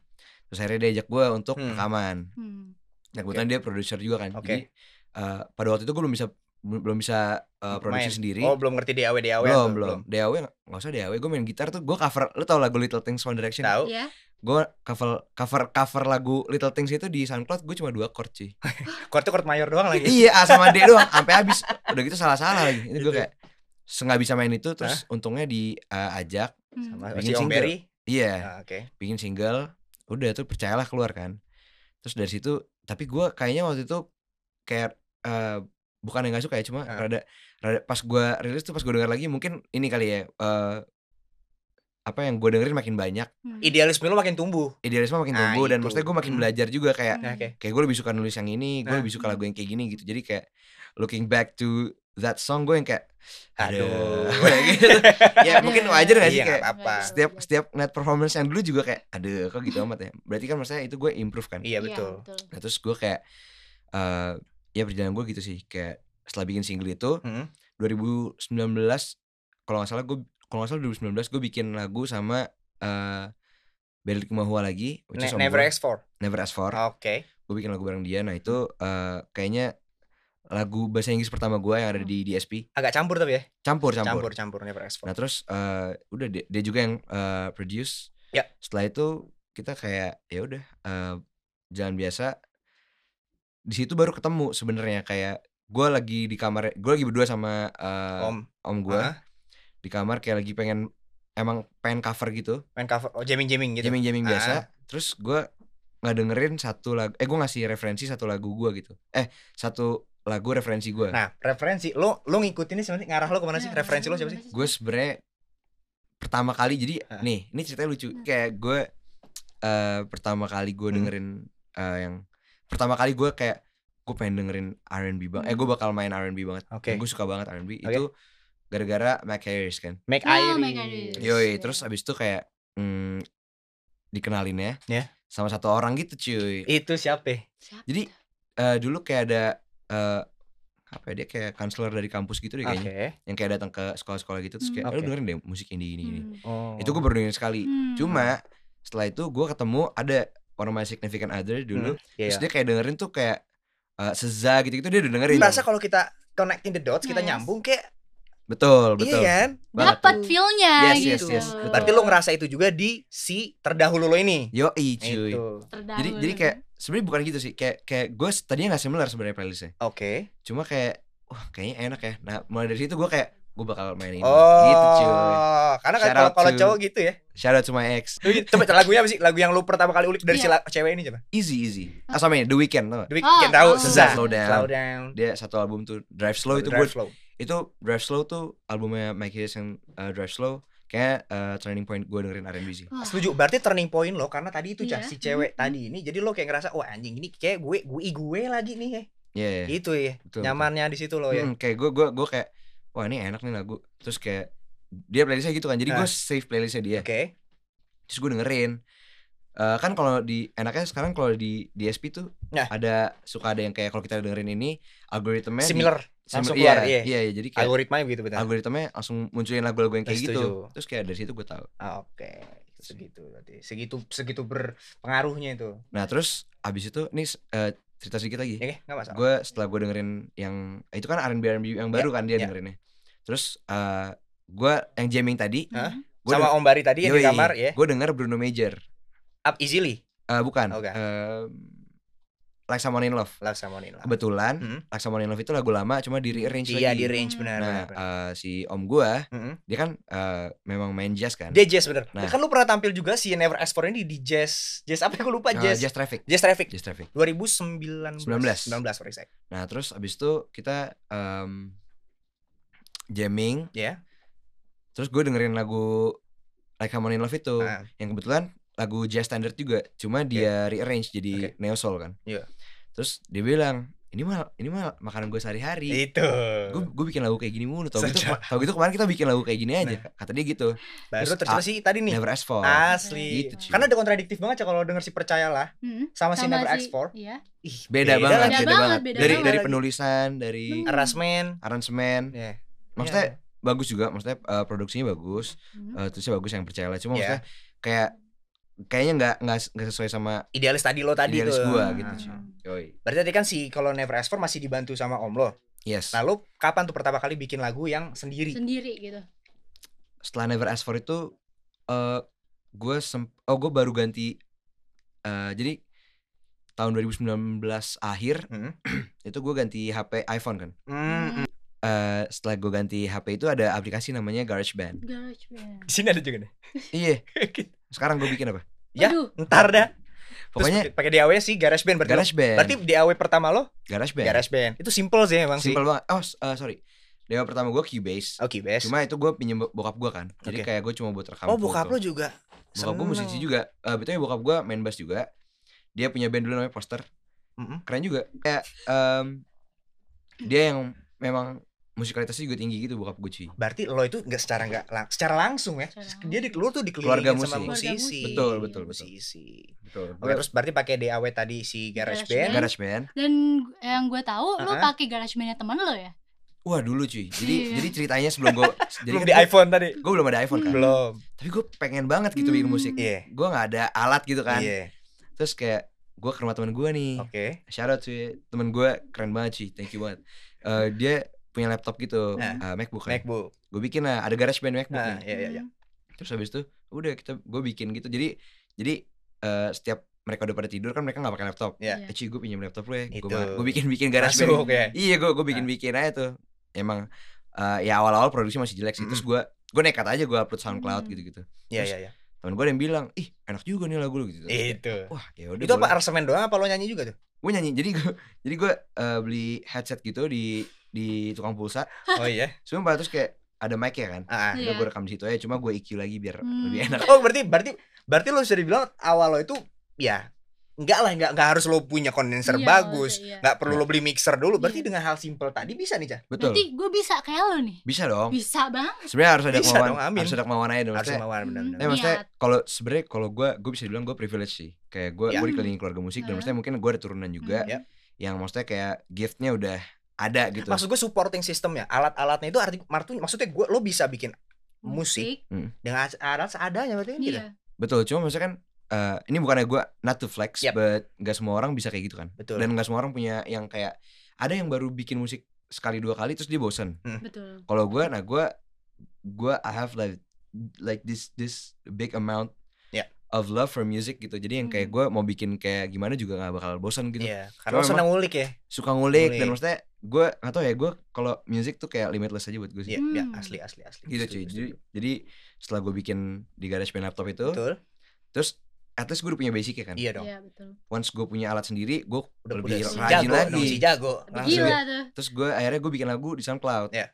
S3: Terus akhirnya dia ajak gue untuk
S1: Hmm.
S3: rekaman.
S2: Hmm.
S3: Nah, kebetulan dia produser juga kan.
S1: Oke.
S3: Jadi eh, pada waktu itu gue belum bisa belum belum bisa eh, produksi
S1: Main.
S3: sendiri.
S1: Oh, belum ngerti DAW DAW
S3: belum, belum. DAW nggak- nggak usah DAW, gue main gitar tuh gue cover. Lu tau lagu Little Things One Direction?
S1: Tahu.
S2: Iya.
S3: Gue cover cover cover lagu Little Things itu di SoundCloud gue cuma dua chord sih.
S1: Chord tuh chord mayor doang lagi.
S3: *laughs* iya, A sama D doang sampai habis. Udah gitu salah-salah lagi. Itu gue
S1: Gitu.
S3: kayak nggak bisa main itu terus untungnya diajak
S2: Hmm.
S1: Sama si
S3: Bikin
S1: Om
S3: single.
S1: Berry.
S3: iya
S1: Ah, Oke.
S3: bikin single udah tuh percayalah keluar kan terus dari situ tapi gue kayaknya waktu itu kayak eh, bukan yang gak suka ya cuma
S1: Ah.
S3: rada rada pas gue rilis tuh pas gue denger lagi mungkin ini kali ya eh, apa yang gue dengerin makin banyak
S2: Hmm.
S1: Idealisme lo makin tumbuh.
S3: idealisme makin
S1: Nah,
S3: tumbuh dan
S1: itu.
S3: maksudnya gue makin
S1: Hmm.
S3: belajar juga kayak
S1: Nah, Oke.
S3: kayak gue lebih suka nulis yang ini gue
S1: Nah.
S3: lebih suka lagu yang kayak gini gitu jadi kayak looking back to that song gue yang kayak *laughs* aduh
S1: Aduh.
S3: gitu. ya mungkin
S1: *laughs*
S3: wajar gak sih
S1: Iya,
S3: kayak
S1: nggak apa-apa.
S3: setiap setiap net performance yang dulu juga kayak aduh kok gitu amat ya berarti kan maksudnya itu gue improve kan
S1: Iya betul.
S3: nah terus gue kayak eh ya perjalanan gue gitu sih kayak setelah bikin single itu
S1: Hmm.
S3: 2019 kalau nggak salah gue kalau nggak salah 2019 gue bikin lagu sama eh Belik Mahua lagi which is
S1: Ne-
S3: on
S1: Never Oh.
S3: gua,
S1: X4.
S3: Never Ask For
S1: Oke.
S3: gue bikin lagu bareng dia nah itu
S1: Hmm.
S3: eh kayaknya lagu bahasa Inggris pertama gue yang ada di DSP
S1: Agak campur tapi ya.
S3: campur
S1: Hmm.
S3: campur,
S1: Campur campur Never X4.
S3: Nah terus eh, udah dia, dia juga yang eh, produce.
S1: Ya.
S3: Setelah itu kita kayak ya udah eh, jalan biasa. Di situ baru ketemu sebenarnya kayak gue lagi di kamar, gue lagi berdua sama eh, om,
S1: Om
S3: gue
S1: Ah.
S3: di kamar kayak lagi pengen emang pengen cover gitu,
S1: main cover oh jamming jamming gitu.
S3: jamming jamming
S1: Ah.
S3: biasa. Terus gue nggak dengerin satu lagu, eh gue ngasih referensi satu lagu gue gitu, eh satu lagu referensi gue.
S1: Nah, referensi lo lo ngikutinnya sebenarnya ngarah lo kemana sih?
S2: Nah,
S1: Referensi lo siapa sih?
S3: gue sebenernya pertama kali jadi
S1: Hah?
S3: nih ini ceritanya lucu
S2: Hmm.
S3: kayak gue eh pertama kali gue
S1: Hmm.
S3: dengerin eh, yang pertama kali gue kayak gue pengen dengerin R&B banget eh gue
S2: Hmm.
S3: bakal main R&B banget
S1: Oke.
S3: gue suka banget R&B
S1: Oke.
S3: itu gara-gara Mac Harris kan
S1: Make
S2: Oh,
S1: Iris.
S2: Make Iris. Yes.
S3: yoi terus abis itu kayak mm, dikenalin ya
S1: Ya.
S3: sama satu orang gitu cuy
S1: Itu siapa?
S2: Siapa
S3: jadi
S2: tuh?
S3: eh, dulu kayak ada eh, apa ya dia kayak konselor dari kampus gitu deh
S1: Ah, Oke.
S3: kayaknya yang kayak datang ke sekolah-sekolah gitu terus
S2: Hmm.
S3: kayak
S1: Oke.
S3: lu dengerin deh musik indie ini ini
S2: Hmm.
S1: Oh.
S3: itu gue baru dengerin sekali
S2: Hmm.
S3: cuma setelah itu gue ketemu ada orang my significant other dulu
S1: Hmm, iya,
S3: terus
S1: iya.
S3: dia kayak dengerin tuh kayak eh, seza gitu gitu dia udah dengerin
S1: Merasa kalau kita connecting the dots kita
S2: Yes.
S1: nyambung kayak iya
S3: betul betul
S1: kan?
S3: banget
S2: dapat
S3: tuh.
S2: feelnya
S3: Yes, yes,
S2: gitu.
S3: yes. Betul.
S1: Berarti lo ngerasa itu juga di si terdahulu lo ini.
S3: yo cuy
S1: Nah, Itu.
S2: Terdahulu.
S3: jadi jadi kayak sebenarnya bukan gitu sih kayak kayak gue tadinya nggak similar sebenarnya playlistnya
S1: Oke.
S3: cuma kayak wah kayaknya enak ya nah mulai dari situ gue kayak gue bakal mainin
S1: Oh.
S3: gitu cuy
S1: Karena kan
S3: Shout
S1: kalau
S3: out
S1: kalau
S3: to-
S1: cowok gitu ya.
S3: shout out to my ex
S1: Lu- Coba lagunya apa sih? Lagu yang lu pertama kali ulik dari si
S2: Iya.
S1: la- cewek ini coba.
S3: easy easy
S1: Oh.
S3: ah, sama ini The Weeknd tau gak?
S1: The Weeknd
S2: Oh,
S1: tahu
S2: tahu.
S1: Seza.
S3: Slow down.
S1: Slow down.
S3: dia satu album tuh Drive Slow itu
S1: Drive
S3: gue
S1: slow.
S3: itu Drive Slow tuh albumnya Mike Hayes yang uh, Drive Slow kayak uh, turning point gue dengerin R&B sih
S2: Wah,
S1: Setuju. Berarti turning point lo karena tadi itu Cah,
S2: Ah. Iya.
S1: si cewek
S2: Mm-mm.
S1: tadi ini jadi lo kayak ngerasa wah anjing ini kayak gue gue gue lagi nih ya.
S3: Iya iya
S1: Itu ya.
S3: betul,
S1: Nyamannya di situ lo
S3: betul.
S1: ya.
S3: Hmm, kayak gue gue gue kayak wah ini enak nih lagu terus kayak dia playlistnya gitu kan jadi
S1: Nah.
S3: gue save playlistnya dia
S1: Oke.
S3: terus gue dengerin Eh, kan kalau di enaknya sekarang kalau di DSP tuh
S1: Nah.
S3: ada suka ada yang kayak kalau kita dengerin ini algoritmanya di-
S1: Similar
S3: similar
S1: langsung
S3: iya,
S1: keluar, iya.
S3: iya iya jadi kayak
S1: algoritmanya begitu betul.
S3: algoritmanya langsung munculin lagu-lagu yang kayak
S1: Nah, Setuju.
S3: gitu terus kayak dari situ gue tahu
S1: Ah, Oke, segitu berarti. Segitu segitu berpengaruhnya itu.
S3: Nah terus abis itu nih eh, cerita sedikit lagi.
S1: Oke, nggak masalah.
S3: Gue setelah gue dengerin yang itu kan R&B R&B yang baru kan dia
S1: ya.
S3: dengerinnya. Terus eh gue yang jamming tadi,
S1: Hah?
S3: gue
S1: Sama Om Bari tadi yang di kamar ya.
S3: Gue denger Bruno Major.
S1: Up easily.
S3: Eh bukan.
S1: Oke.
S3: eh, like Someone in Love.
S1: Love someone in love.
S3: Kebetulan
S1: Hmm.
S3: Like Someone in Love itu lagu lama cuma di rearrange
S1: Iya di
S3: lagi.
S1: range benar.
S3: nah,
S1: benar, benar.
S3: eh, si om gua
S1: Mm-mm.
S3: dia kan eh, memang main jazz kan.
S1: Dia jazz bener.
S3: Nah.
S1: Kan lu pernah tampil juga si Never Ask For ini di jazz. Jazz apa ya? Gue lupa
S3: Eh,
S1: jazz.
S3: jazz traffic.
S1: Jazz Traffic.
S3: Jazz traffic.
S1: 2019.
S3: 19.
S1: 19 sorry saya.
S3: Nah terus abis itu kita em, jamming.
S1: Iya.
S3: Terus gue dengerin lagu Like Harmony Love itu
S1: Ah.
S3: yang kebetulan lagu jazz standard juga, cuma dia rearrange jadi
S1: Oke.
S3: neo soul kan.
S1: Iya.
S3: Terus dia bilang ini mah ini mah makanan gue sehari-hari.
S1: Itu.
S3: Gue gue bikin lagu kayak gini mulu. Tau
S1: Iya.
S3: gitu,
S1: Saja. Nah.
S3: tau gitu kemarin kita bikin lagu kayak gini aja. Kata dia gitu.
S1: Baru
S3: Terus,
S1: ternyata
S3: ah,
S1: sih tadi nih.
S3: Never ask for.
S1: Ah. Asli.
S3: Gitu, Ci.
S1: Karena udah kontradiktif banget ya kalau denger si percayalah
S2: Hmm.
S1: sama, si
S2: Sama
S1: Never Ask
S2: si-
S1: For.
S2: Iya.
S1: Ih,
S3: Beda,
S1: lagi.
S2: Beda
S3: banget, beda banget.
S2: banget, beda
S3: dari
S1: banget.
S3: dari penulisan, dari
S2: Hmm.
S1: Arrangement.
S3: aransemen.
S1: Iya.
S3: Maksudnya
S1: Iya.
S3: bagus juga, maksudnya eh, produksinya bagus.
S2: Hmm.
S3: Eh, terusnya bagus yang percaya lah cuma
S1: Iya.
S3: maksudnya kayak kayaknya nggak nggak nggak sesuai sama
S1: idealis tadi lo tadi
S3: idealis
S1: tuh.
S3: gua gitu
S1: Nah.
S3: cuy
S2: Hmm.
S3: Yoi.
S1: Berarti tadi kan si kalau Never Ask For masih dibantu sama Om lo.
S3: yes
S1: Lalu kapan tuh pertama kali bikin lagu yang sendiri?
S2: Sendiri gitu.
S3: setelah never ask for itu eh gue semp oh gue baru ganti eh jadi tahun 2019 akhir
S1: Hmm.
S3: *clears throat* itu gue ganti HP iPhone kan
S1: Hmm.
S3: Eh setelah gue ganti HP itu ada aplikasi namanya GarageBand
S1: Ya.
S2: Garage band.
S1: Di sini ada juga nih. *laughs*
S3: iya sekarang gue bikin apa
S1: Ya,
S2: Aduh,
S1: Ntar dah. Terus
S3: pokoknya
S1: pakai DAW sih GarageBand berarti. lo-
S3: GarageBand
S1: Berarti DAW pertama lo
S3: GarageBand
S1: GarageBand. Itu simple sih emang sih.
S3: simple banget oh s- eh, sorry dewa pertama gue Cubase
S1: Oke, best.
S3: Cuma itu gue pinjem bo- bokap gue kan Jadi
S1: Oke.
S3: kayak gue cuma buat rekam
S1: oh, bokap
S3: foto.
S1: lo juga.
S3: Bokap gue
S1: seneng.
S3: musisi juga Eh Betulnya bokap gue main bass juga Dia punya band dulu namanya Poster
S1: Mm-mm.
S3: Keren juga Kayak em, Dia yang memang musikalitasnya juga tinggi gitu bokap gue cuy
S1: Berarti lo itu nggak secara nggak lang- secara langsung ya.
S2: Secara langsung.
S1: Dia di keluar tuh
S3: Keluarga
S1: dikelilingin sama musisi.
S2: Keluarga
S3: musik.
S2: musik.
S3: Betul, betul, betul
S1: Musisi.
S3: Betul
S1: Oke, terus berarti pakai DAW tadi si GarageBand.
S2: GarageBand.
S3: GarageBand
S2: Dan gu- yang gue tahu lu
S1: Uh-uh.
S2: pakai garage bandnya teman lo ya?
S3: Wah dulu cuy Jadi
S2: Iya.
S3: jadi ceritanya sebelum
S1: *laughs*
S3: gue Jadi
S1: Belum di iPhone tadi.
S3: Gue belum ada iPhone kan
S1: Belum.
S3: Tapi gue pengen banget gitu bikin
S2: Hmm.
S3: musik
S1: Iya.
S3: Gue gak ada alat gitu kan
S1: Iya. Oh.
S3: Terus kayak Gue ke rumah temen gue nih
S1: Oke.
S3: shout out cuy temen gue keren banget cuy thank you banget Eh, dia punya laptop gitu
S1: Nah.
S3: eh, macbook kan
S1: MacBook.
S3: gue bikin lah ada garage band macbook
S1: Nah,
S3: ya. nih.
S1: iya iya iya.
S3: terus habis itu udah kita gue bikin gitu jadi jadi eh, setiap mereka udah pada tidur kan mereka nggak pakai laptop
S1: Iya.
S2: Hmm.
S3: eh cuy gue pinjam laptop lu ya
S1: Itu.
S3: gue bikin bikin garage band
S1: Masuk ya.
S3: iya gue gue bikin bikin aja tuh emang eh, ya awal awal produksi masih jelek sih terus gue gue nekat aja gue upload soundcloud
S2: Hmm.
S3: gitu gitu
S1: Iya iya iya.
S3: temen gue ada yang bilang ih enak juga nih lagu lu gitu
S1: Itu.
S3: wah ya udah
S1: Itu apa
S3: boleh.
S1: aransemen doang apa lo nyanyi
S3: *laughs*
S1: juga tuh?
S3: gue nyanyi jadi gue jadi gue eh, beli headset gitu di di tukang pulsa
S1: Oh iya.
S3: cuma baru terus kayak ada mic ya kan
S1: Ah. ah.
S3: udah gue rekam di situ aja cuma gue EQ lagi biar
S2: Iya. Hmm.
S3: lebih enak
S1: Oh, berarti berarti berarti lo bisa dibilang awal lo itu ya enggak lah enggak enggak harus lo punya kondenser
S2: Iya,
S1: bagus. Nah,
S2: iya.
S1: Enggak perlu lo beli mixer dulu. Berarti
S2: Iya.
S1: dengan hal simple tadi bisa nih, Cah.
S3: betul
S2: Berarti gue bisa kayak lo nih.
S3: bisa dong
S2: Bisa banget.
S3: sebenarnya harus ada
S1: Bisa
S3: kemauan
S1: dong, amin.
S3: harus ada kemauan aja dong
S1: Harus
S3: maksudnya
S1: kemauan benar-benar.
S3: tapi maksudnya
S2: Niat.
S3: kalau sebenarnya kalau gue gue bisa dibilang gue privilege sih kayak gue
S1: Ya.
S3: gue dikelilingi keluarga musik dan
S2: Ah.
S3: maksudnya mungkin gue ada turunan juga
S2: Iya.
S1: Ya.
S3: yang maksudnya kayak giftnya udah ada gitu
S1: Maksud gue supporting systemnya, alat-alatnya itu arti martu- maksudnya gue lo bisa bikin musik dengan as- alat seadanya berarti kan gitu.
S2: Iya.
S3: betul cuma maksudnya kan eh, ini bukannya gue not to flex
S1: Yap.
S3: but gak semua orang bisa kayak gitu kan
S1: Betul.
S3: dan nggak semua orang punya yang kayak ada yang baru bikin musik sekali dua kali terus dia bosen
S1: Gitu
S2: Betul.
S3: kalau gue nah gue gue I have like like this this big amount
S1: Ya.
S3: of love for music gitu jadi yang kayak
S2: Hmm.
S3: gue mau bikin kayak gimana juga nggak bakal bosen gitu
S1: Iya, karena lo
S3: Cuma
S1: senang ngulik ya.
S3: suka ngulik
S1: Ngulik.
S3: dan maksudnya gue nggak tau ya gue kalau music tuh kayak limitless aja buat gue sih
S1: Iya,
S2: Hmm.
S1: iya, asli asli asli.
S3: gitu
S1: Setuju,
S3: cuy jadi,
S1: setuju.
S3: jadi setelah gue bikin di GarageBand laptop itu
S1: Betul.
S3: terus at least gue udah punya basic ya kan
S1: Iya dong.
S2: Iya, betul.
S3: once gue punya alat sendiri gue
S1: Udah
S3: Lebih
S1: udah si
S2: rajin
S1: jago,
S3: lagi.
S1: dong, si jago. Langsung.
S2: Gila tuh.
S3: terus gue akhirnya gue bikin lagu di SoundCloud
S1: Iya.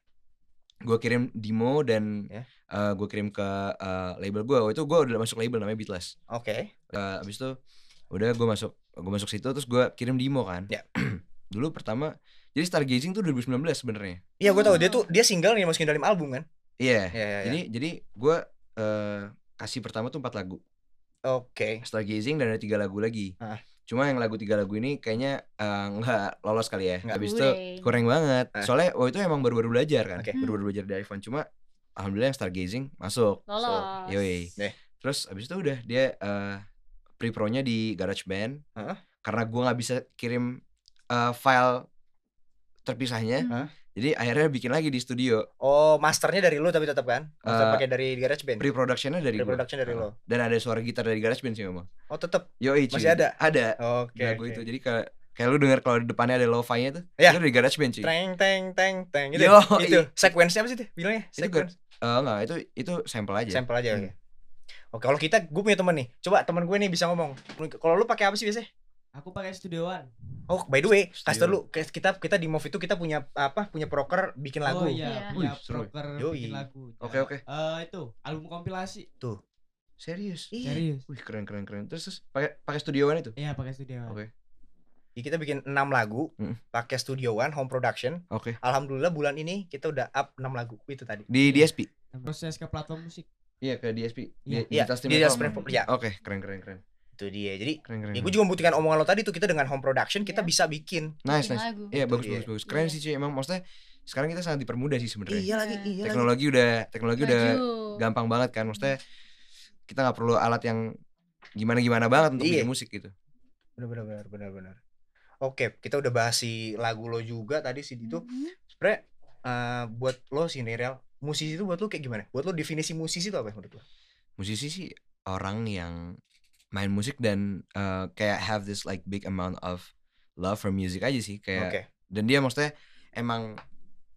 S3: gue kirim demo dan
S1: Iya.
S3: eh, gue kirim ke eh, label gue Waktu itu gue udah masuk label namanya Beatles
S1: Oke.
S3: Eh, abis itu udah gue masuk gue masuk situ terus gue kirim demo kan
S1: Iya.
S3: *clears throat* dulu pertama jadi Stargazing tuh 2019 sebenarnya
S1: Iya, gue tahu dia tuh dia single nih masukin dalam album kan.
S3: iya
S1: Iya, iya,
S3: jadi
S1: iya.
S3: jadi gue eh, kasih pertama tuh empat lagu
S1: Oke.
S3: Stargazing dan ada tiga lagu lagi
S1: Ah.
S3: cuma yang lagu tiga lagu ini kayaknya eh, nggak lolos kali ya
S1: Nggak.
S3: abis itu kurang banget
S1: Eh.
S3: soalnya waktu itu emang baru-baru belajar kan
S1: Oke.
S7: Hmm.
S3: baru-baru belajar di iPhone cuma alhamdulillah yang stargazing masuk
S2: Lolos.
S3: yoi
S1: Eh.
S3: terus abis itu udah dia eh pre pro nya di GarageBand
S1: Heeh.
S3: karena gua nggak bisa kirim eh, file terpisahnya.
S1: Hmm.
S3: Jadi akhirnya bikin lagi di studio.
S1: Oh, masternya dari lu tapi tetap kan? Master
S3: Eh,
S1: pakai dari GarageBand.
S3: Pre-productionnya dari gua. Ah.
S1: Pre-production dari lo.
S3: Dan ada suara gitar dari GarageBand sih memang.
S1: Oh, tetap.
S3: Yoi, cuy.
S1: Masih ada?
S3: Ada.
S1: Oke.
S3: lagu
S1: oke.
S3: Iya, itu. Jadi kayak kayak lu denger kalau di depannya ada lo-fi-nya tuh,
S1: Iya.
S3: itu dari GarageBand cuy.
S1: Teng teng teng teng gitu.
S3: Yo, iya.
S1: ya? itu sequence-nya apa sih itu? Bilangnya
S3: Itu gue-
S1: sequence.
S3: Eh, enggak, itu itu sampel aja.
S1: Sampel aja
S3: Hmm.
S1: oke. Oke, kalau kita gue punya temen nih. Coba temen gue nih bisa ngomong. Kalau lu pakai apa sih biasanya?
S7: Aku pakai Studio One.
S1: Oh, by the way, kasih tau lu
S3: Studio.
S1: ke- kita kita di Move itu kita punya apa? Punya proker bikin lagu.
S7: Oh iya,
S2: Iya.
S7: punya
S3: Wih, seru ya.
S7: proker
S1: Yoi.
S7: bikin lagu.
S3: Oke, oke.
S7: Eh, itu album kompilasi.
S3: Serius?
S7: Serius.
S3: Wih, keren keren keren. Terus, terus pakai pakai Studio One itu.
S7: Iya, pakai Studio One.
S3: Oke.
S1: Jadi Ya, kita bikin 6 lagu
S3: Mm.
S1: pakai Studio One Home Production.
S3: Oke.
S1: Alhamdulillah bulan ini kita udah up 6 lagu itu tadi.
S3: Di DSP.
S7: Nah, Proses ke platform musik.
S3: Iya, ke DSP. Di- digital
S7: Iya.
S1: di
S3: streaming
S1: Digital
S3: platform.
S1: Streaming Platform, iya.
S3: Oke, keren keren keren.
S1: Itu dia. Jadi
S3: Keren keren.
S1: Ya, gue
S3: keren.
S1: juga membuktikan omongan lo tadi tuh kita dengan home production kita
S2: Iya.
S1: bisa bikin.
S3: Nice,
S2: Bikin
S3: nice.
S2: lagu.
S3: Iya,
S1: Itu
S3: bagus
S1: dia.
S3: bagus bagus. Keren
S2: Iya.
S3: sih cuy. Emang maksudnya sekarang kita sangat dipermudah sih sebenarnya.
S1: Iya lagi, iya lagi.
S3: Teknologi udah teknologi udah
S2: Maju.
S3: gampang banget kan. Maksudnya kita nggak perlu alat yang gimana-gimana banget untuk
S1: Iya.
S3: bikin musik gitu.
S1: Bener bener bener bener bener. Oke, kita udah bahas si lagu lo juga tadi sih itu.
S2: Mhm.
S1: Sebenernya eh, buat lo sih nih, Rel, musisi itu buat lo kayak gimana? Buat lo definisi musisi itu apa ya menurut lo?
S3: musisi sih orang yang main musik dan uh, kayak have this like big amount of love for music aja sih kayak
S1: Oke.
S3: dan dia maksudnya emang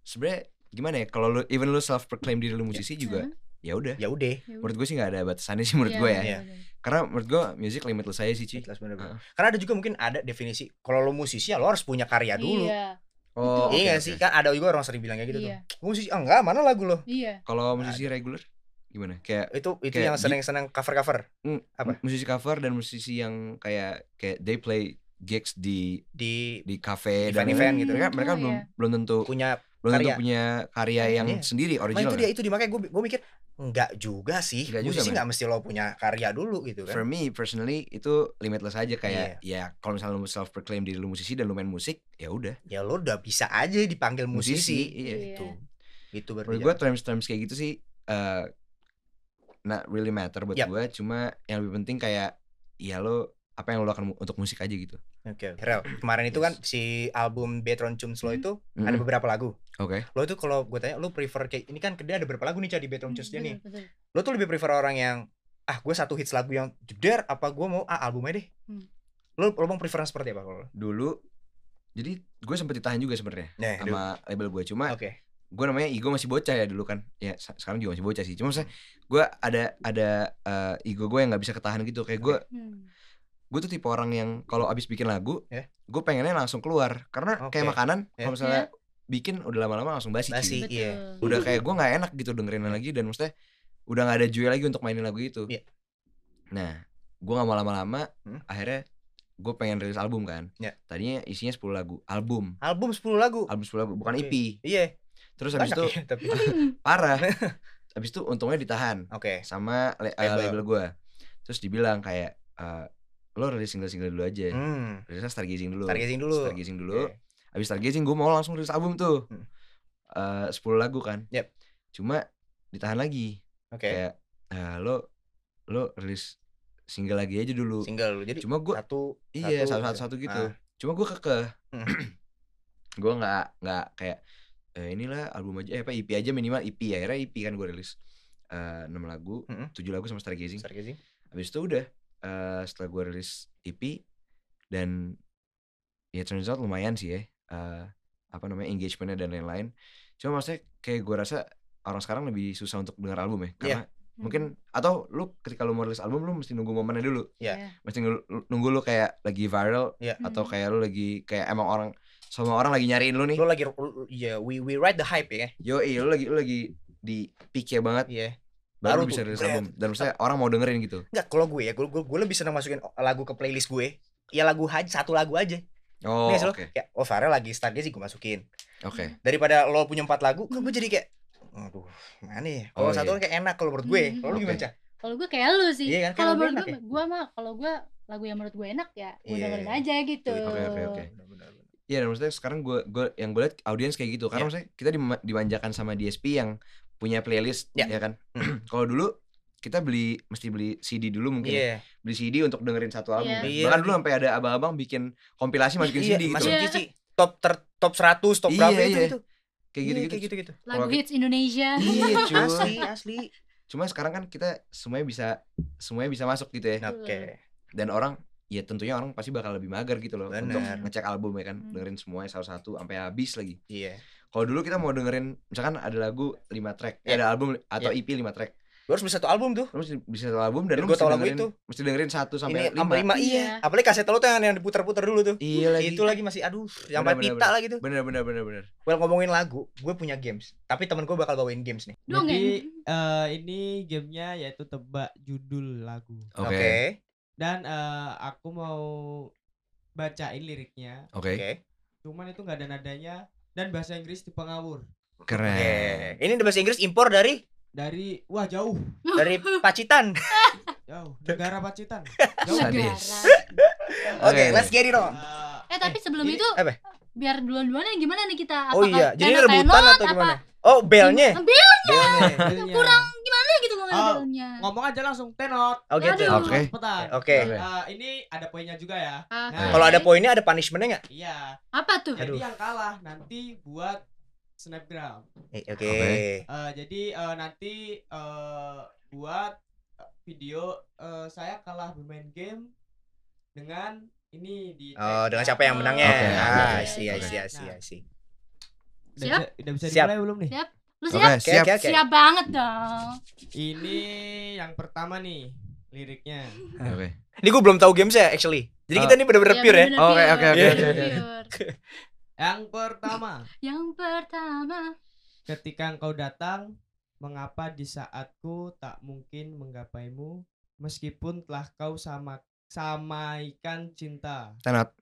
S3: sebenarnya gimana ya kalau lu even lu self proclaim diri lu
S1: Iya.
S3: musisi juga
S2: Mhm.
S3: ya udah
S1: Ya udah.
S2: Ya udah.
S3: menurut gue sih nggak ada batasannya sih menurut
S2: Iya,
S3: gue ya
S2: iya, iya.
S3: karena menurut gue music limitless aja sih cuy
S1: Jelas bener bener.
S3: Heeh.
S1: Karena ada juga mungkin ada definisi kalau lo musisi ya lo harus punya karya dulu.
S2: Iya,
S1: iya
S3: oh oke,
S1: nggak
S3: oke.
S1: sih kan ada juga orang sering bilangnya gitu
S2: iya,
S1: tuh. Gue musisi ah, enggak, mana lagu lo?
S2: iya.
S3: kalau musisi reguler gimana kayak
S1: Itu itu
S3: Kayak
S1: yang
S3: di-
S1: seneng-seneng cover-cover
S3: mm,
S1: Apa?
S3: musisi cover dan musisi yang kayak kayak they play gigs di
S1: di
S3: di cafe
S1: Event-event
S3: dan lain-lain.
S1: gitu.
S3: mereka mereka
S2: Oh,
S3: belum
S2: iya.
S3: belum tentu
S1: punya
S3: belum tentu
S1: Karya.
S3: punya karya yang
S1: Iya.
S3: sendiri
S1: Nah,
S3: original. kan?
S1: itu dia itu di makanya gue gue mikir enggak juga sih.
S3: Nggak juga,
S1: musisi
S3: men.
S1: enggak mesti lo punya karya dulu gitu
S3: For
S1: kan.
S3: me personally itu limitless aja kayak
S1: Iya.
S3: ya kalau misalnya lu self proclaim diri lu musisi dan lu main musik ya udah
S1: Ya lo udah bisa aja dipanggil musisi.
S3: Iya.
S2: Iya.
S1: Gitu. Gitu berarti.
S3: Menurut gue terms terms kayak gitu sih eh not really matter buat
S1: Yap.
S3: gue cuma yang lebih penting kayak ya lo apa yang lo lakukan mu- untuk musik aja gitu.
S1: Oke. oke. Rel, kemarin itu kan si album Betron Cum Slow itu ada
S3: Mm-mm.
S1: beberapa lagu.
S3: Hmm. Oke.
S1: Lo itu kalau gue tanya lo prefer kayak ini kan dia ada berapa lagu nih Ca, di Betron Cum
S2: Betul,
S1: Slow nih. Iya.
S2: betul.
S1: Lo tuh lebih prefer orang yang ah gue satu hits lagu yang jeder apa gue mau ah, album aja deh.
S2: Hmm.
S1: Lo lo mau preferan seperti apa kalau lo?
S3: Dulu jadi gue sempet ditahan juga sebenarnya
S1: Nah, dulu.
S3: sama label gue cuma
S1: Oke.
S3: gue namanya ego masih bocah ya dulu kan ya se- sekarang juga masih bocah sih cuma saya gue ada ada eh, ego gue yang nggak bisa ketahan gitu kayak gue
S2: Hmm.
S3: gue tuh tipe orang yang kalau abis bikin lagu
S1: Ya.
S3: gue pengennya langsung keluar karena
S1: Oke.
S3: kayak makanan
S1: Ya.
S3: kalau misalnya bikin udah lama-lama langsung basi, cuy.
S1: Basi. Iya.
S2: Betul. Hmm.
S3: udah kayak gue nggak enak gitu dengerin lagi dan maksudnya udah nggak ada joy lagi untuk mainin lagu itu
S1: Iya.
S3: nah gue nggak mau lama-lama
S1: Hmm.
S3: akhirnya gue pengen rilis album kan
S1: Ya.
S3: tadinya isinya 10 lagu album
S1: Album 10 lagu.
S3: album 10 lagu bukan
S1: Oke.
S3: EP
S1: Iya.
S3: terus habis
S1: banyak ya,
S3: itu
S1: tapi. *laughs*
S3: parah habis itu untungnya ditahan
S1: Oke.
S3: sama le- eh,
S1: Label.
S3: label gue terus dibilang kayak eh, lo rilis single-single dulu aja
S1: Hmm.
S3: rilisnya stargazing dulu
S1: Stargazing dulu. Iya.
S3: stargazing gitu dulu
S1: Oke.
S3: habis stargazing gue mau langsung rilis album tuh
S1: Hmm.
S3: Eh 10 lagu kan
S1: Yep.
S3: cuma ditahan lagi
S1: Oke.
S3: kayak eh, lo lo rilis single lagi aja dulu
S1: Single. Jadi
S3: cuma gue
S1: satu
S3: iya
S1: satu,
S3: satu satu, satu gitu
S1: Ah.
S3: cuma gue kekeh
S1: Hmm.
S3: *clears throat* gue nggak nggak kayak eh, inilah album aja eh, apa EP aja minimal EP akhirnya EP kan gue rilis Eh 6 lagu
S1: Mm-mm.
S3: 7 lagu sama stargazing
S1: Hmm. Stargazing.
S3: Habis itu udah eh, setelah gue rilis EP dan ya turns out lumayan sih ya eh, apa namanya engagementnya dan lain-lain. Cuma maksudnya kayak gue rasa orang sekarang lebih susah untuk dengar album ya karena
S2: Hmm.
S3: mungkin atau lu ketika lu mau rilis album lu mesti nunggu momennya dulu,
S1: Iya.
S3: mesti nunggu, nunggu lu kayak lagi viral
S1: Iya.
S3: atau
S2: Hmm.
S3: kayak lu lagi kayak emang orang semua orang lagi nyariin lu nih.
S1: Lo lagi ya we we ride the hype ya.
S3: Yo, lu lagi lu lagi di peak ya banget
S1: Iya.
S3: baru,
S1: Baru tuh,
S3: bisa
S1: Iya.
S3: rilis
S1: bread.
S3: album dan maksudnya orang mau dengerin gitu.
S1: Enggak, kalau gue ya, gue, gue, gue lebih senang masukin lagu ke playlist gue. Ya lagu aja, satu lagu aja.
S3: Oh,
S1: Nih, lo
S3: oke.
S1: kayak oh Farel lagi stargazing gue masukin.
S3: Oke.
S1: Daripada lo punya empat lagu, kok gue jadi kayak aduh, mana ya? Kalau
S3: Oh,
S1: satu
S3: iya.
S1: kan kayak enak kalau menurut gue.
S2: Hmm.
S1: Kalau lu gimana,
S3: Oke.
S1: Cah?
S2: Kalau gue kayak lu sih.
S1: Iya kan, kayak
S2: Kalau
S1: lu
S2: menurut
S1: enak
S2: gue,
S1: ya?
S2: gue mah kalau gue lagu yang menurut gue enak ya, gue
S1: Iya.
S2: dengerin aja gitu.
S3: Oke, oke, oke. Iya, dan maksudnya sekarang gue gue yang gue liat audiens kayak gitu
S1: Iya.
S3: karena maksudnya kita dima- dimanjakan sama DSP yang punya playlist
S1: Ya.
S3: ya kan. *clears throat*
S1: Hmm.
S3: Kalau dulu kita beli mesti beli CD dulu mungkin
S1: Iya.
S3: beli CD untuk dengerin satu album
S2: Iya.
S3: kan?
S1: Iya.
S3: bahkan dulu sampai ada abang-abang bikin kompilasi masukin
S1: Iya,
S3: CD gitu
S1: masukin
S3: loh.
S2: Iya.
S1: Cici. Top ter, top 100, top
S3: Iya,
S1: berapa
S3: iya.
S1: itu itu.
S3: kayak
S1: Iya,
S3: gitu-gitu
S1: kayak gitu-gitu.
S2: lagu
S3: Kalau-
S2: hits Indonesia
S3: iya cuy
S1: Asli, asli.
S3: cuma sekarang kan kita semuanya bisa semuanya bisa masuk gitu ya
S1: Nah, Oke.
S3: dan orang ya tentunya orang pasti bakal lebih mager gitu loh untuk
S1: Bener.
S3: ngecek album ya kan
S2: Hmm.
S3: dengerin semuanya satu-satu sampai habis lagi
S1: Iya.
S3: kalau dulu kita mau dengerin misalkan ada lagu 5 track
S1: Iya.
S3: eh, ada album atau EP 5 track
S1: Lu harus beli satu album tuh.
S3: lu mesti bisa satu album dan
S1: Dan
S3: lu
S1: gua
S3: mesti
S1: tau lagu
S3: dengerin,
S1: itu.
S3: mesti dengerin satu sampai
S1: Ini
S3: lima
S1: sampai lima
S2: Iya.
S1: iya. Apalagi kaset lu tuh yang yang diputar-putar dulu tuh.
S3: iya lagi
S1: Itu lagi masih aduh, sampai
S3: Bener, bener,
S1: pita lagi tuh.
S3: bener bener bener bener
S1: Well ngomongin lagu, gue punya games. Tapi temen gue bakal bawain games nih.
S2: dongeng
S7: Jadi eh, ini gamenya yaitu tebak judul lagu.
S3: oke
S7: Dan eh, aku mau bacain liriknya.
S3: oke
S1: Oke.
S7: Cuman itu nggak ada nadanya dan bahasa Inggris tipe ngawur.
S1: Oke.
S3: keren
S1: Ini bahasa Inggris impor dari
S7: Dari wah jauh,
S1: dari
S3: *laughs*
S1: Pacitan.
S7: jauh negara Pacitan. Jauh.
S3: Sadis.
S2: negara
S1: Oke, let's get it on.
S7: Eh,
S2: eh tapi sebelum
S1: Ini-
S2: itu
S1: apa?
S2: biar duluan-duluan yang gimana nih kita
S1: Oh
S2: Apakah
S1: iya, jadi
S2: tenor-tenor,
S1: rebutan atau
S2: apa-
S1: gimana? Oh, belnya.
S2: Ambil
S1: Belnya.
S7: judulnya.
S2: kurang gimana gitu gue
S7: Iya. Oh.
S2: belnya
S7: Ngomong aja langsung tenor.
S1: Oh gitu.
S2: Aduh.
S3: Oke.
S7: Cepetan.
S1: Oke.
S3: Oke.
S7: Eh, ini ada poinnya juga ya.
S2: Ah,
S7: Nah,
S1: Kalau ada poinnya ada punishmentnya nggak?
S7: Iya.
S2: apa tuh
S1: Aduh.
S7: Jadi yang kalah nanti buat snapgram.
S1: Eh, Oke.
S3: Oke.
S7: Eh, jadi eh, nanti eh, buat eh, video eh, saya kalah bermain game dengan ini di
S1: Oh, dengan siapa yang menangnya?
S3: Oke,
S1: ah,
S2: oke,
S1: iya,
S2: oke.
S1: iya, iya, iya.
S7: Nah, Udah
S2: Siap?
S7: bisa, udah bisa
S1: Siap.
S7: dimulai belum nih?
S2: Siap. lu
S3: oke
S2: siap
S1: Oke,
S3: siap
S1: oke, oke.
S2: siap banget dong
S7: Ini yang pertama nih liriknya.
S3: oke
S1: Ini gue belum tahu games ya actually. Jadi
S3: Oh.
S1: kita ini bener-bener
S2: Iya,
S1: pure ya.
S2: bener-bener pure,
S3: Oke, oke,
S1: oke,
S2: bener-bener
S3: oke, oke.
S2: pure.
S7: Yang pertama,
S2: yang pertama
S7: ketika engkau datang, mengapa di saatku tak mungkin menggapaimu meskipun telah kau sama samaikan cinta.
S3: tenat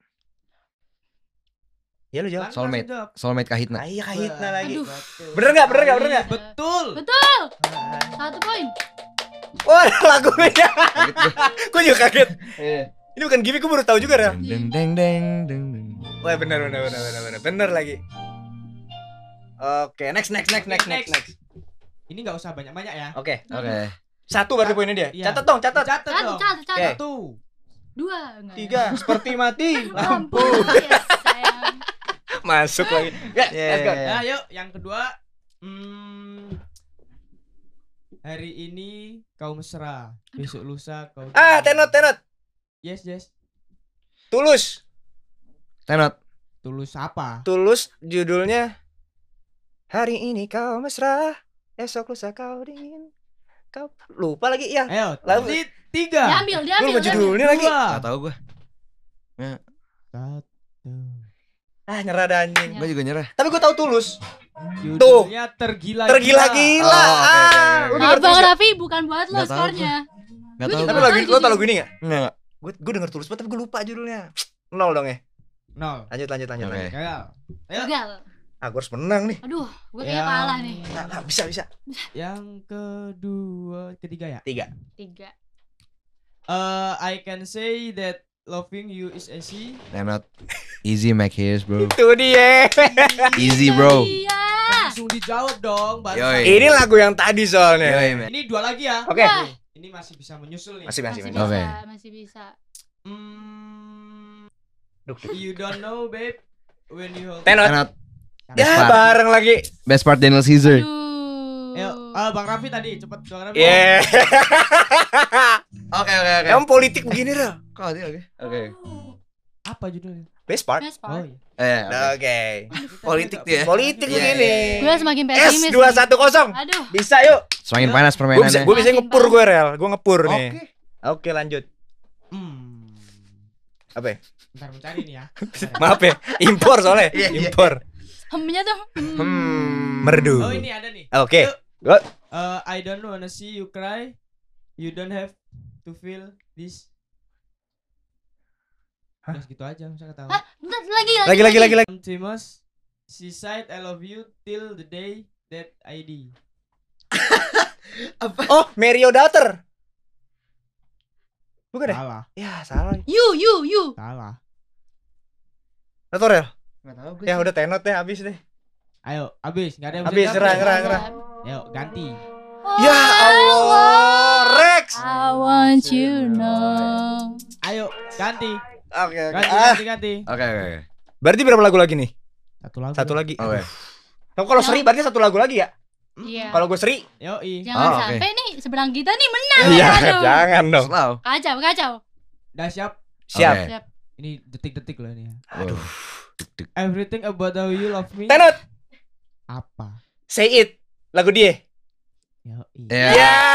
S1: Ya lu jawab.
S7: Langsung
S3: Soulmate.
S7: jawab.
S3: soulmate kahitna
S1: Ah, iya kahitna
S7: Wah,
S1: lagi. Iya.
S2: Aduh.
S7: betul.
S1: Bener nggak? Bener nggak? Bener nggak?
S7: Betul.
S2: betul
S7: Ah.
S2: satu poin
S1: Wah, lagu beda.
S3: Kaget
S1: Iya.
S3: gue.
S1: gue juga kaget. Ini bukan gimmick, gue baru tahu juga Rel.
S3: deng deng deng deng deng
S1: Wah, bener bener bener bener bener bener lagi. Oke, next next next next next next.
S7: Ini nggak usah banyak-banyak ya.
S1: Oke.
S3: oke
S1: Satu berarti poinnya dia.
S7: Iya.
S1: Catat dong, catat.
S7: Catat
S2: satu
S7: dong.
S2: satu satu
S1: Oke.
S7: Satu.
S2: dua enggak ya?
S1: Tiga, seperti
S7: *laughs*
S1: mati. Nah.
S2: lampu
S1: Lampu.
S2: yes, sayang.
S1: *laughs* Masuk lagi. Ya, let's go.
S7: Nah, yuk yang kedua. Hmm, hari ini kau mesra, besok lusa kau.
S1: Ah, tenot tenot.
S7: Yes, yes.
S1: Tulus.
S3: tenat
S7: Tulus apa?
S1: Tulus judulnya Hari ini kau mesra, esok lusa kau dingin. Kau lupa lagi ya.
S7: Ayo,
S1: Lalu-
S7: lanjut tiga.
S2: diambil
S1: Lu
S2: diambil
S1: lupa
S2: diambil.
S1: judulnya lagi.
S7: Dua.
S3: nggak tahu gue
S7: Satu.
S1: Ah, nyerah dah
S2: Iya.
S1: anjing.
S3: gue juga nyerah
S1: Tapi gue tahu Tulus.
S7: Judulnya tergila.
S1: Tergila-gila.
S3: Oh, oke, oke,
S1: Ah,
S3: Ah,
S1: lu
S3: oke.
S1: denger
S2: Abang
S1: Tulus nggak?
S2: Raffi bukan buat lo
S3: Nggak tahu
S2: skornya
S3: nggak
S2: Gua
S3: tahu
S1: Tapi
S2: juga
S3: gue
S1: lagu
S2: nggak tahu
S1: lo
S2: judul.
S1: tau lagu ini enggak?
S3: nggak
S1: Gue gue denger Tulus banget tapi gue lupa judulnya. Nol dong ya.
S7: Nol.
S1: Lanjut lanjut lanjut.
S3: Oke.
S1: lanjut.
S7: Gagal.
S2: gagal
S1: Ah, gue harus menang nih.
S2: aduh gue kayaknya
S7: Yang-
S2: kalah nih
S1: Ah, ah, bisa bisa.
S7: Yang kedua, ketiga ya.
S1: Tiga.
S2: tiga
S7: Uh, I can say that loving you is easy.
S3: tenat easy make his bro
S1: Itu dia.
S3: easy bro
S2: iya
S7: Langsung dijawab dong, Bang.
S3: Yoi.
S1: ini lagu yang tadi soalnya.
S3: Yoi, man.
S7: Ini dua lagi ya.
S1: Oke.
S2: Wah,
S7: Ini masih bisa menyusul nih.
S1: Masih masih
S2: Iya. masih
S1: masih.
S2: bisa
S3: Oke.
S2: masih bisa
S7: Hmm,
S1: Duk, duk.
S7: you don't know, babe, when you hold.
S1: Tenor.
S3: tenat
S1: Ya,
S3: Best part.
S1: bareng lagi.
S3: best part Daniel Caesar
S2: aduh
S7: Ayo, ah, Bang Raffi tadi cepet Bang Raffi.
S1: Yeah.
S3: oke oke oke
S1: Emang politik begini, Rel.
S3: Kok ada oke oke
S7: Apa judulnya?
S1: Best part.
S2: Best
S7: Oh,
S2: part.
S7: iya.
S3: eh oke.
S1: Oke.
S3: Politik tuh ya.
S1: Politik
S3: Iya,
S1: begini.
S2: gue semakin
S1: S
S2: pesimis nih.
S1: 210.
S2: aduh
S1: Bisa yuk.
S3: semakin
S1: Gue
S3: panas
S1: bisa,
S3: permainannya
S1: gue bisa
S2: Makin
S1: ngepur
S2: parah.
S1: gue Rel. Gue ngepur
S3: oke
S1: nih. Oke, lanjut.
S7: Hmm.
S1: Apa ya?
S7: Bentar mencari nih ya.
S1: *laughs* Maaf ya, impor soalnya.
S3: Iya, iya.
S1: Impor.
S2: hemnya tuh hmm.
S3: hmm
S1: Merdu.
S7: Oh, ini ada nih.
S1: Oke.
S7: Uh, I don't wanna see you cry. You don't have to feel this. Terus gitu aja, saya nggak tahu.
S2: Hah? Bentar, lagi
S1: Lagi lagi lagi lagi.
S7: I'm Timus. She said I love you till the day that I die.
S1: Oh, Mario Daughter. Bukan deh.
S7: Salah,
S1: Ya, salah.
S2: you you you
S7: salah.
S1: Atau Rel?
S3: nggak tahu gue
S1: Ya udah tenot deh habis deh.
S7: Ayo, habis, nggak ada yang bisa
S1: Habis
S7: jawab.
S1: nyerah nyerah nyerah.
S7: Ayo, ganti.
S2: Oh,
S1: Ya Allah, Next.
S2: I want you know.
S7: Ayo ganti,
S1: Oke, oke.
S7: ganti,
S1: Ah,
S7: ganti, ganti.
S3: Oke oke oke.
S1: berarti berapa lagu lagi nih?
S7: Satu lagu.
S1: Satu lagi.
S3: Oke.
S1: Aduh. Tapi kalau seri berarti satu lagu lagi ya?
S2: Iya.
S1: Kalau gue seri?
S7: Yoi.
S2: Jangan
S3: Ah, oke.
S2: sampai nih seberang kita nih menang.
S1: Iya,
S2: aduh.
S1: *laughs* jangan dong.
S3: Slow.
S2: Kacau, kacau.
S7: Udah siap.
S1: Siap.
S3: Oke.
S2: Siap.
S7: Ini detik-detik loh ini ya.
S1: Aduh.
S3: Deg-deg.
S7: Everything about how you love me.
S1: Tenot,
S7: Apa?
S1: say it. Lagu dia.
S7: Yoi.
S3: Ya.
S1: Ya.
S3: *laughs*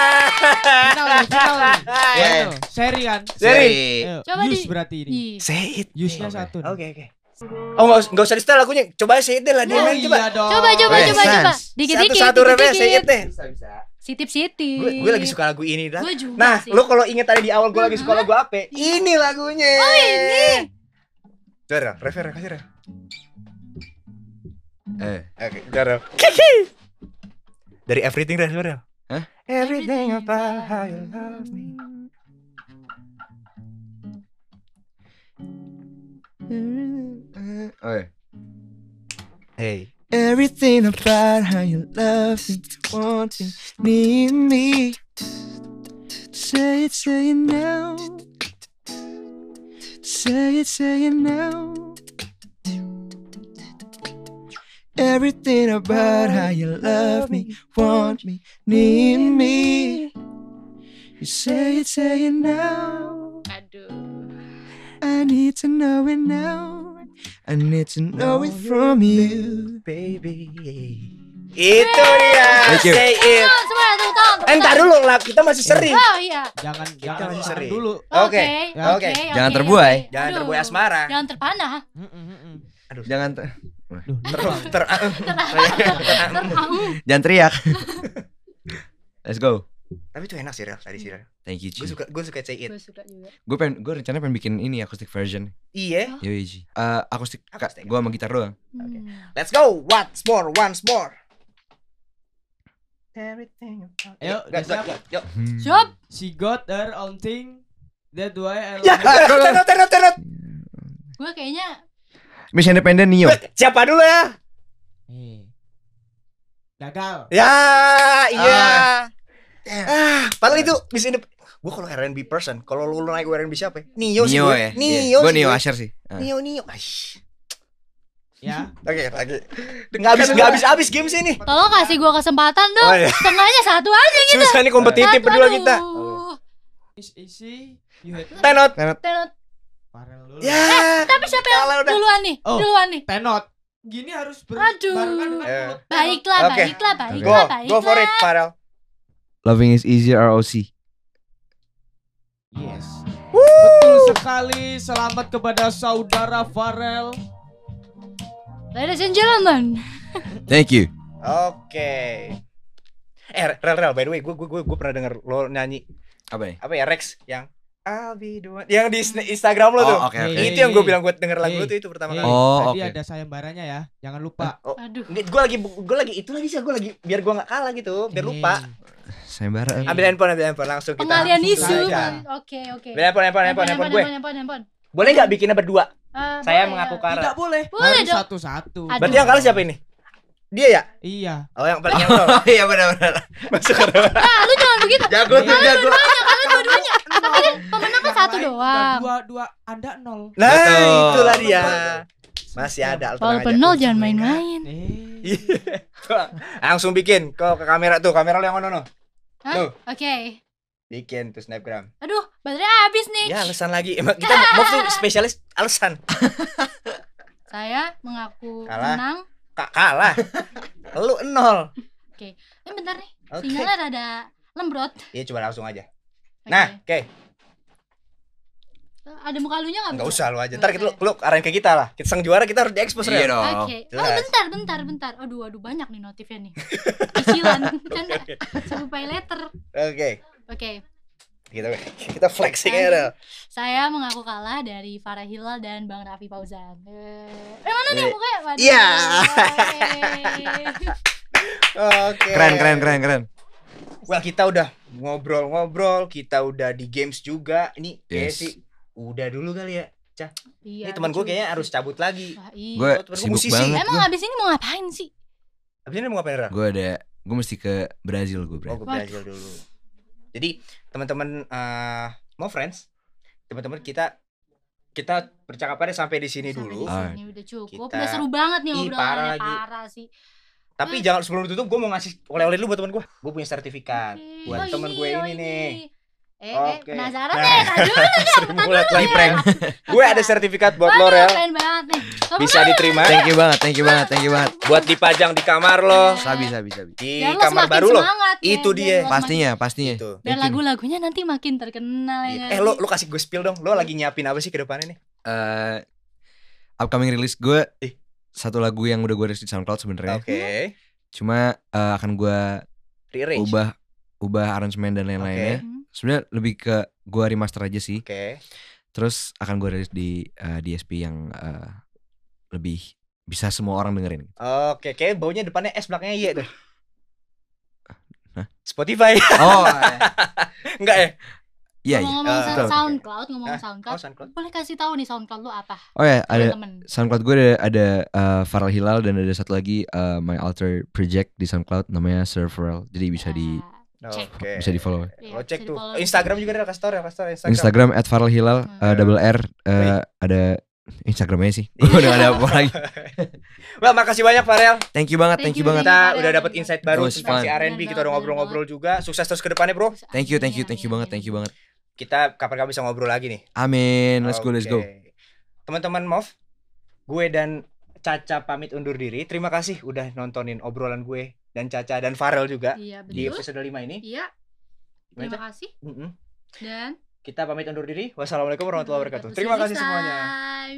S7: Final nih, final
S1: *laughs*
S7: nih.
S1: Ya.
S3: Iya.
S7: Ayo, Seri kan?
S1: Seri.
S7: Ayo,
S2: Coba
S7: use
S2: di-
S7: berarti ini.
S2: Ih,
S1: Say it.
S7: Use-nya
S3: Oke.
S7: satu. nih.
S1: Oke, oke. Oh, nggak us- nggak usah di setel lagunya. Coba aja say it deh lah dia
S7: Oh,
S1: main coba.
S7: iya dong.
S2: Coba, coba,
S3: Wes,
S2: coba, coba.
S3: Sans.
S2: Dikit, dikit,
S1: Eh, Satu-satu
S2: dikit,
S1: refresh say
S2: dikit.
S1: it deh.
S2: Sitip, sitip.
S1: Gue gue lagi suka lagu ini dah.
S2: Gue juga
S1: Nah,
S2: sih.
S1: lu kalau inget tadi di awal gue lagi suka lagu apa? Ini lagunya. Oh, ini. Jara, refer kasih Ref.
S3: Eh.
S1: Oke, Jara. Dari everything Ref, Ref.
S3: Hah?
S1: Everything about how you love me.
S3: Oke.
S1: Hey.
S3: Everything about how you love me, wanting me in me. Say it, say it now. Say it, say it now. Everything about how you love me, want me, need me. You say it, say it now.
S2: Aduh.
S3: I need to know it now. I need to know it from you.
S1: Baby. Itu dia.
S3: Thank you.
S1: Say it.
S2: Tangan, semua tepuk tangan, tepuk
S1: Eh, Entar
S2: tangan.
S1: dulu lah, kita masih sering.
S2: Oh iya.
S7: Jangan jangan
S1: masih
S7: tahan
S1: seri.
S7: dulu.
S1: Oke. Oke.
S3: Jangan terbuai.
S1: Jangan
S2: Aduh.
S1: terbuai asmara.
S2: Jangan terpanah.
S7: Mm-mm, mm-mm.
S3: Jangan ter-
S7: Duh,
S1: Ter,
S7: lupa.
S1: ter, ah, iya,
S2: Terang.
S3: Jangan teriak. *laughs* Let's go.
S1: tapi itu enak sih Rel tadi sih Rel.
S3: Thank you,
S1: Gue
S3: Ji.
S1: suka gue suka say it.
S2: Gue suka juga.
S3: Gue pengen, gue rencana pengen bikin ini acoustic version.
S1: Iya.
S3: Yo, Ji. Eh, acoustic. Kak,
S1: Acoustic.
S3: gue sama gitar doang.
S1: Oke.
S2: Hmm.
S1: Let's go. Once more, once more. Everything about
S7: Ayo,
S1: Yuk, yuk,
S7: udah siap?
S1: yuk, yuk.
S3: Hmm.
S2: Siap.
S7: She got her own thing. That why I love
S1: Ya,
S7: her.
S1: turun, turun, turun.
S2: Gue kayaknya
S3: Miss Independent Neo.
S1: Siapa dulu ya?
S7: Eh. Gagal.
S1: Ya, iya. Ah, padahal itu di sini gue kalau R&B person, kalau lu naik R&B siapa? ya? Nio sih.
S3: Neo
S1: gue.
S3: ya.
S1: Nio.
S3: Gue
S1: sih
S3: Neo
S1: gue.
S3: Asher sih. Eh.
S1: Nio, Nio. Aish.
S7: Ya.
S1: Oke, lagi. Enggak habis enggak habis habis game
S7: Iya,
S1: sih ini.
S2: tolong kasih gue kesempatan dong.
S1: Oh, iya.
S2: Tengahnya satu aja.
S1: Susah nih kompetitif
S2: Satu,
S1: berdua
S2: aduh.
S1: kita.
S7: Is easy. You had
S1: Tenot.
S2: Tenot.
S7: Parel dulu.
S1: Ya.
S2: Eh, Tapi siapa yang
S1: Kalau udah.
S2: duluan nih?
S7: Oh.
S2: Duluan nih.
S7: Tenot. Gini harus ber
S2: Aduh.
S7: barengan dengan
S1: Eh.
S7: mulut.
S2: Baiklah,
S1: Oke.
S2: baiklah,
S1: Go,
S2: baiklah,
S1: go for
S2: baiklah.
S1: it, Farel.
S3: Loving is easier ROC.
S7: Yes. Betul sekali. Selamat kepada saudara Farel.
S2: Ladies and gentlemen.
S3: Thank you.
S1: Oke. Eh, Rel, Rel, by the way, gue gue gue pernah denger lo nyanyi
S3: Apa nih?
S1: apa ya Rex yang I'll be the one- yang di Sna- Instagram lo tuh.
S3: Oh, oke oke.
S7: Hey.
S1: Itu yang gue bilang gue denger lagu lo tuh itu pertama
S7: Eh,
S1: kali.
S3: Oh,
S7: tadi
S3: oke.
S7: ada sayembaranya ya. Jangan lupa.
S2: Aduh.
S1: Ini gue lagi gue lagi itu lagi sih gue lagi biar gue nggak kalah gitu biar lupa.
S3: Sayembara.
S1: Ambil handphone, ambil handphone langsung kita.
S2: Pengalian
S1: langsung
S2: isu.
S1: aja.
S2: Oke, oke.
S1: Ambil handphone, handphone, handphone, handphone gue.
S2: handphone, handphone.
S1: Boleh nggak bikinnya berdua?
S2: Eh,
S1: Saya
S2: boleh,
S1: mengaku
S2: ya.
S1: kalah.
S7: Tidak boleh.
S2: Boleh
S7: Harus
S2: dong.
S7: satu-satu.
S2: Aduh.
S1: Berarti yang kalah siapa ini? Dia ya?
S7: Iya.
S1: Oh yang paling *laughs* nyantol.
S3: Oh *laughs* iya benar-benar.
S1: Masuk ke dalam.
S2: Ah, lu jangan
S1: *laughs*
S2: begitu.
S1: Jago tuh jago.
S2: Kalau dua-duanya. Tapi kan pemenang kan
S7: Yang
S2: satu
S7: lain udah
S2: doang.
S7: Dua, dua. Anda nol.
S1: Nah
S3: Betul.
S1: itulah dia. Masih ada. lu tenang
S2: Walaupun *laughs*
S1: aja.
S2: nol jangan main-main.
S7: Eh.
S1: Iya. Langsung bikin ke, ke kamera tuh, kamera lo yang ono no.
S2: Hah?
S1: Tuh.
S2: Oke.
S1: Bikin tuh snapgram.
S2: Aduh, baterai habis nih.
S1: Ya alasan lagi. Emang
S2: *laughs*
S1: kita mau tuh spesialis alasan.
S2: Saya mengaku
S1: Kalah.
S2: menang.
S1: Kak kalah. Lu nol.
S2: Eh bentar nih,
S1: Oke.
S2: sinyalnya rada lembrot.
S1: Iya coba langsung aja.
S2: Oke.
S1: Nah, oke.
S2: Eh, ada muka lunya nggak?
S1: Enggak
S2: Bu?
S1: usah lu aja. Ntar kita lu, lu arahin ke kita lah. Kita sang juara kita harus diekspos
S3: Iya
S1: ya.
S3: dong.
S2: Oke.
S1: jelas.
S2: Oh bentar, bentar, bentar. Aduh, aduh banyak nih notifnya nih.
S1: *laughs*
S2: Cicilan *laughs* kan satu pay letter.
S1: Oke.
S2: Oke,
S1: Kita kita flexing ya. Rel.
S2: saya mengaku kalah dari Farah Hilal dan Bang Raffi Fauzan. Eh, eh, mana nih
S1: Eh,
S2: mukanya? Waduh.
S1: iya. *laughs*
S2: Eh.
S1: Oke.
S3: Keren keren keren keren.
S1: Well, kita udah ngobrol-ngobrol, kita udah di games juga. Ini kayak
S3: Yes.
S1: sih udah dulu kali ya. ini
S2: Iya,
S1: teman gue
S2: lucu.
S1: kayaknya harus cabut lagi.
S2: Wah, iya.
S3: Gue
S1: Temen gua
S3: sibuk
S1: musisi.
S3: banget.
S2: Emang abis ini mau ngapain sih?
S1: Abis ini mau ngapain Rel?
S3: Gue ada gue mesti ke Brazil gue
S1: Oh,
S3: Brazil.
S1: gue
S2: Waduh.
S1: Brazil dulu. Jadi teman-teman eh, mau friends, teman-teman kita kita percakapannya sampai di sini
S2: Sampai
S1: dulu. Ah.
S2: di sini udah cukup.
S1: Kita-
S2: Udah seru banget nih
S1: Ih,
S2: obrolannya
S1: parah
S2: parah,
S1: lagi.
S2: sih.
S1: Tapi
S2: Ah.
S1: jangan sebelum tutup gue mau ngasih oleh-oleh dulu buat teman gue. Gue punya sertifikat.
S2: Oke.
S1: buat temen gue
S2: oh
S1: ini nih.
S2: Eh, eh,
S1: Oke.
S2: penasaran
S1: Nah.
S2: deh, tadi dulu
S1: *laughs* Sering mulai lagi prank. Gue ada sertifikat buat
S2: Waduh,
S1: lo Rel.
S2: Keren banget nih. Sobat
S1: Bisa diterima
S3: Thank you banget, thank you banget, thank you banget.
S1: buat dipajang di kamar lo,
S3: Sabi, sabi, sabi.
S1: di
S2: Iya. biar Ya, lo
S1: kamar
S2: semakin
S1: baru lo.
S2: semangat ya,
S1: Itu
S2: biar
S1: dia.
S2: lo semakin-
S3: Pastinya, pastinya.
S1: Gitu.
S2: Biar
S3: Thank you.
S2: lagu-lagunya nanti makin terkenal ya.
S1: Eh lo lo kasih gue spill dong. Lo lagi nyiapin apa sih ke depannya nih?
S3: Eh, upcoming release gue
S1: Ih.
S3: satu lagu yang udah gue rilis di SoundCloud sebenarnya.
S1: Oke.
S3: Cuma eh, akan gue
S1: Rearrange. Oke.
S3: ubah ubah aransemen dan lain-lainnya.
S2: Hmm.
S3: Sebenarnya lebih ke gue remaster aja sih. Terus akan gue rilis di eh, DSP yang eh, lebih bisa semua orang dengerin.
S1: Oke, kayak baunya depannya S belakangnya Y tuh.
S3: Hah?
S1: Spotify.
S3: *laughs*
S1: *laughs*
S3: Oh,
S1: Enggak ya?
S3: iya. iya.
S2: Ngomong-ngomong
S1: Eh,
S2: sound-
S3: betul.
S2: SoundCloud, ngomong
S1: Ah,
S2: SoundCloud.
S1: Oh, SoundCloud.
S2: Boleh kasih tahu nih SoundCloud lo apa?
S3: Oh ya, ada
S2: temen.
S3: SoundCloud gue ada ada eh, Farel Hilal dan ada satu lagi eh, My Alter Project di SoundCloud namanya Serverel. Jadi bisa di
S2: Cek.
S1: Oke.
S3: bisa di follow.
S1: Eh,
S2: Iya,
S1: Lo cek
S2: bisa
S1: tuh.
S2: di-follow.
S1: Instagram juga ada kastor ya, kastor Instagram.
S3: Instagram at Farel Hilal
S2: Hmm.
S3: eh, double R eh,
S1: Baik.
S3: ada Instagramnya *laughs* sih. Udah ada apa lagi?
S1: Wah, makasih banyak Farel.
S3: Thank you banget,
S2: Thank
S3: thank
S2: you,
S3: you banget.
S2: thank
S1: Kita
S2: Farel.
S1: udah dapat insight baru
S3: It was
S1: tentang
S3: fun.
S1: si R&B, kita udah ngobrol-ngobrol juga. Sukses terus ke depannya, Bro.
S3: Thank you,
S2: Iya,
S3: thank you, thank you banget, thank you banget.
S1: Kita kapan-kapan bisa ngobrol lagi nih.
S3: Amin. Let's go, let's go.
S1: Oke. Teman-teman MOV, gue dan Caca pamit undur diri. Terima kasih udah nontonin obrolan gue dan Caca dan Farel juga
S2: Iya,
S1: di
S2: betul.
S1: episode 5 ini.
S2: Iya,
S1: Gimana,
S2: terima
S1: Caca?
S2: kasih.
S1: Mm-mm.
S2: Dan
S1: Kita pamit undur diri. Wassalamualaikum warahmatullahi wabarakatuh. Terima kasih semuanya.
S2: Dadah.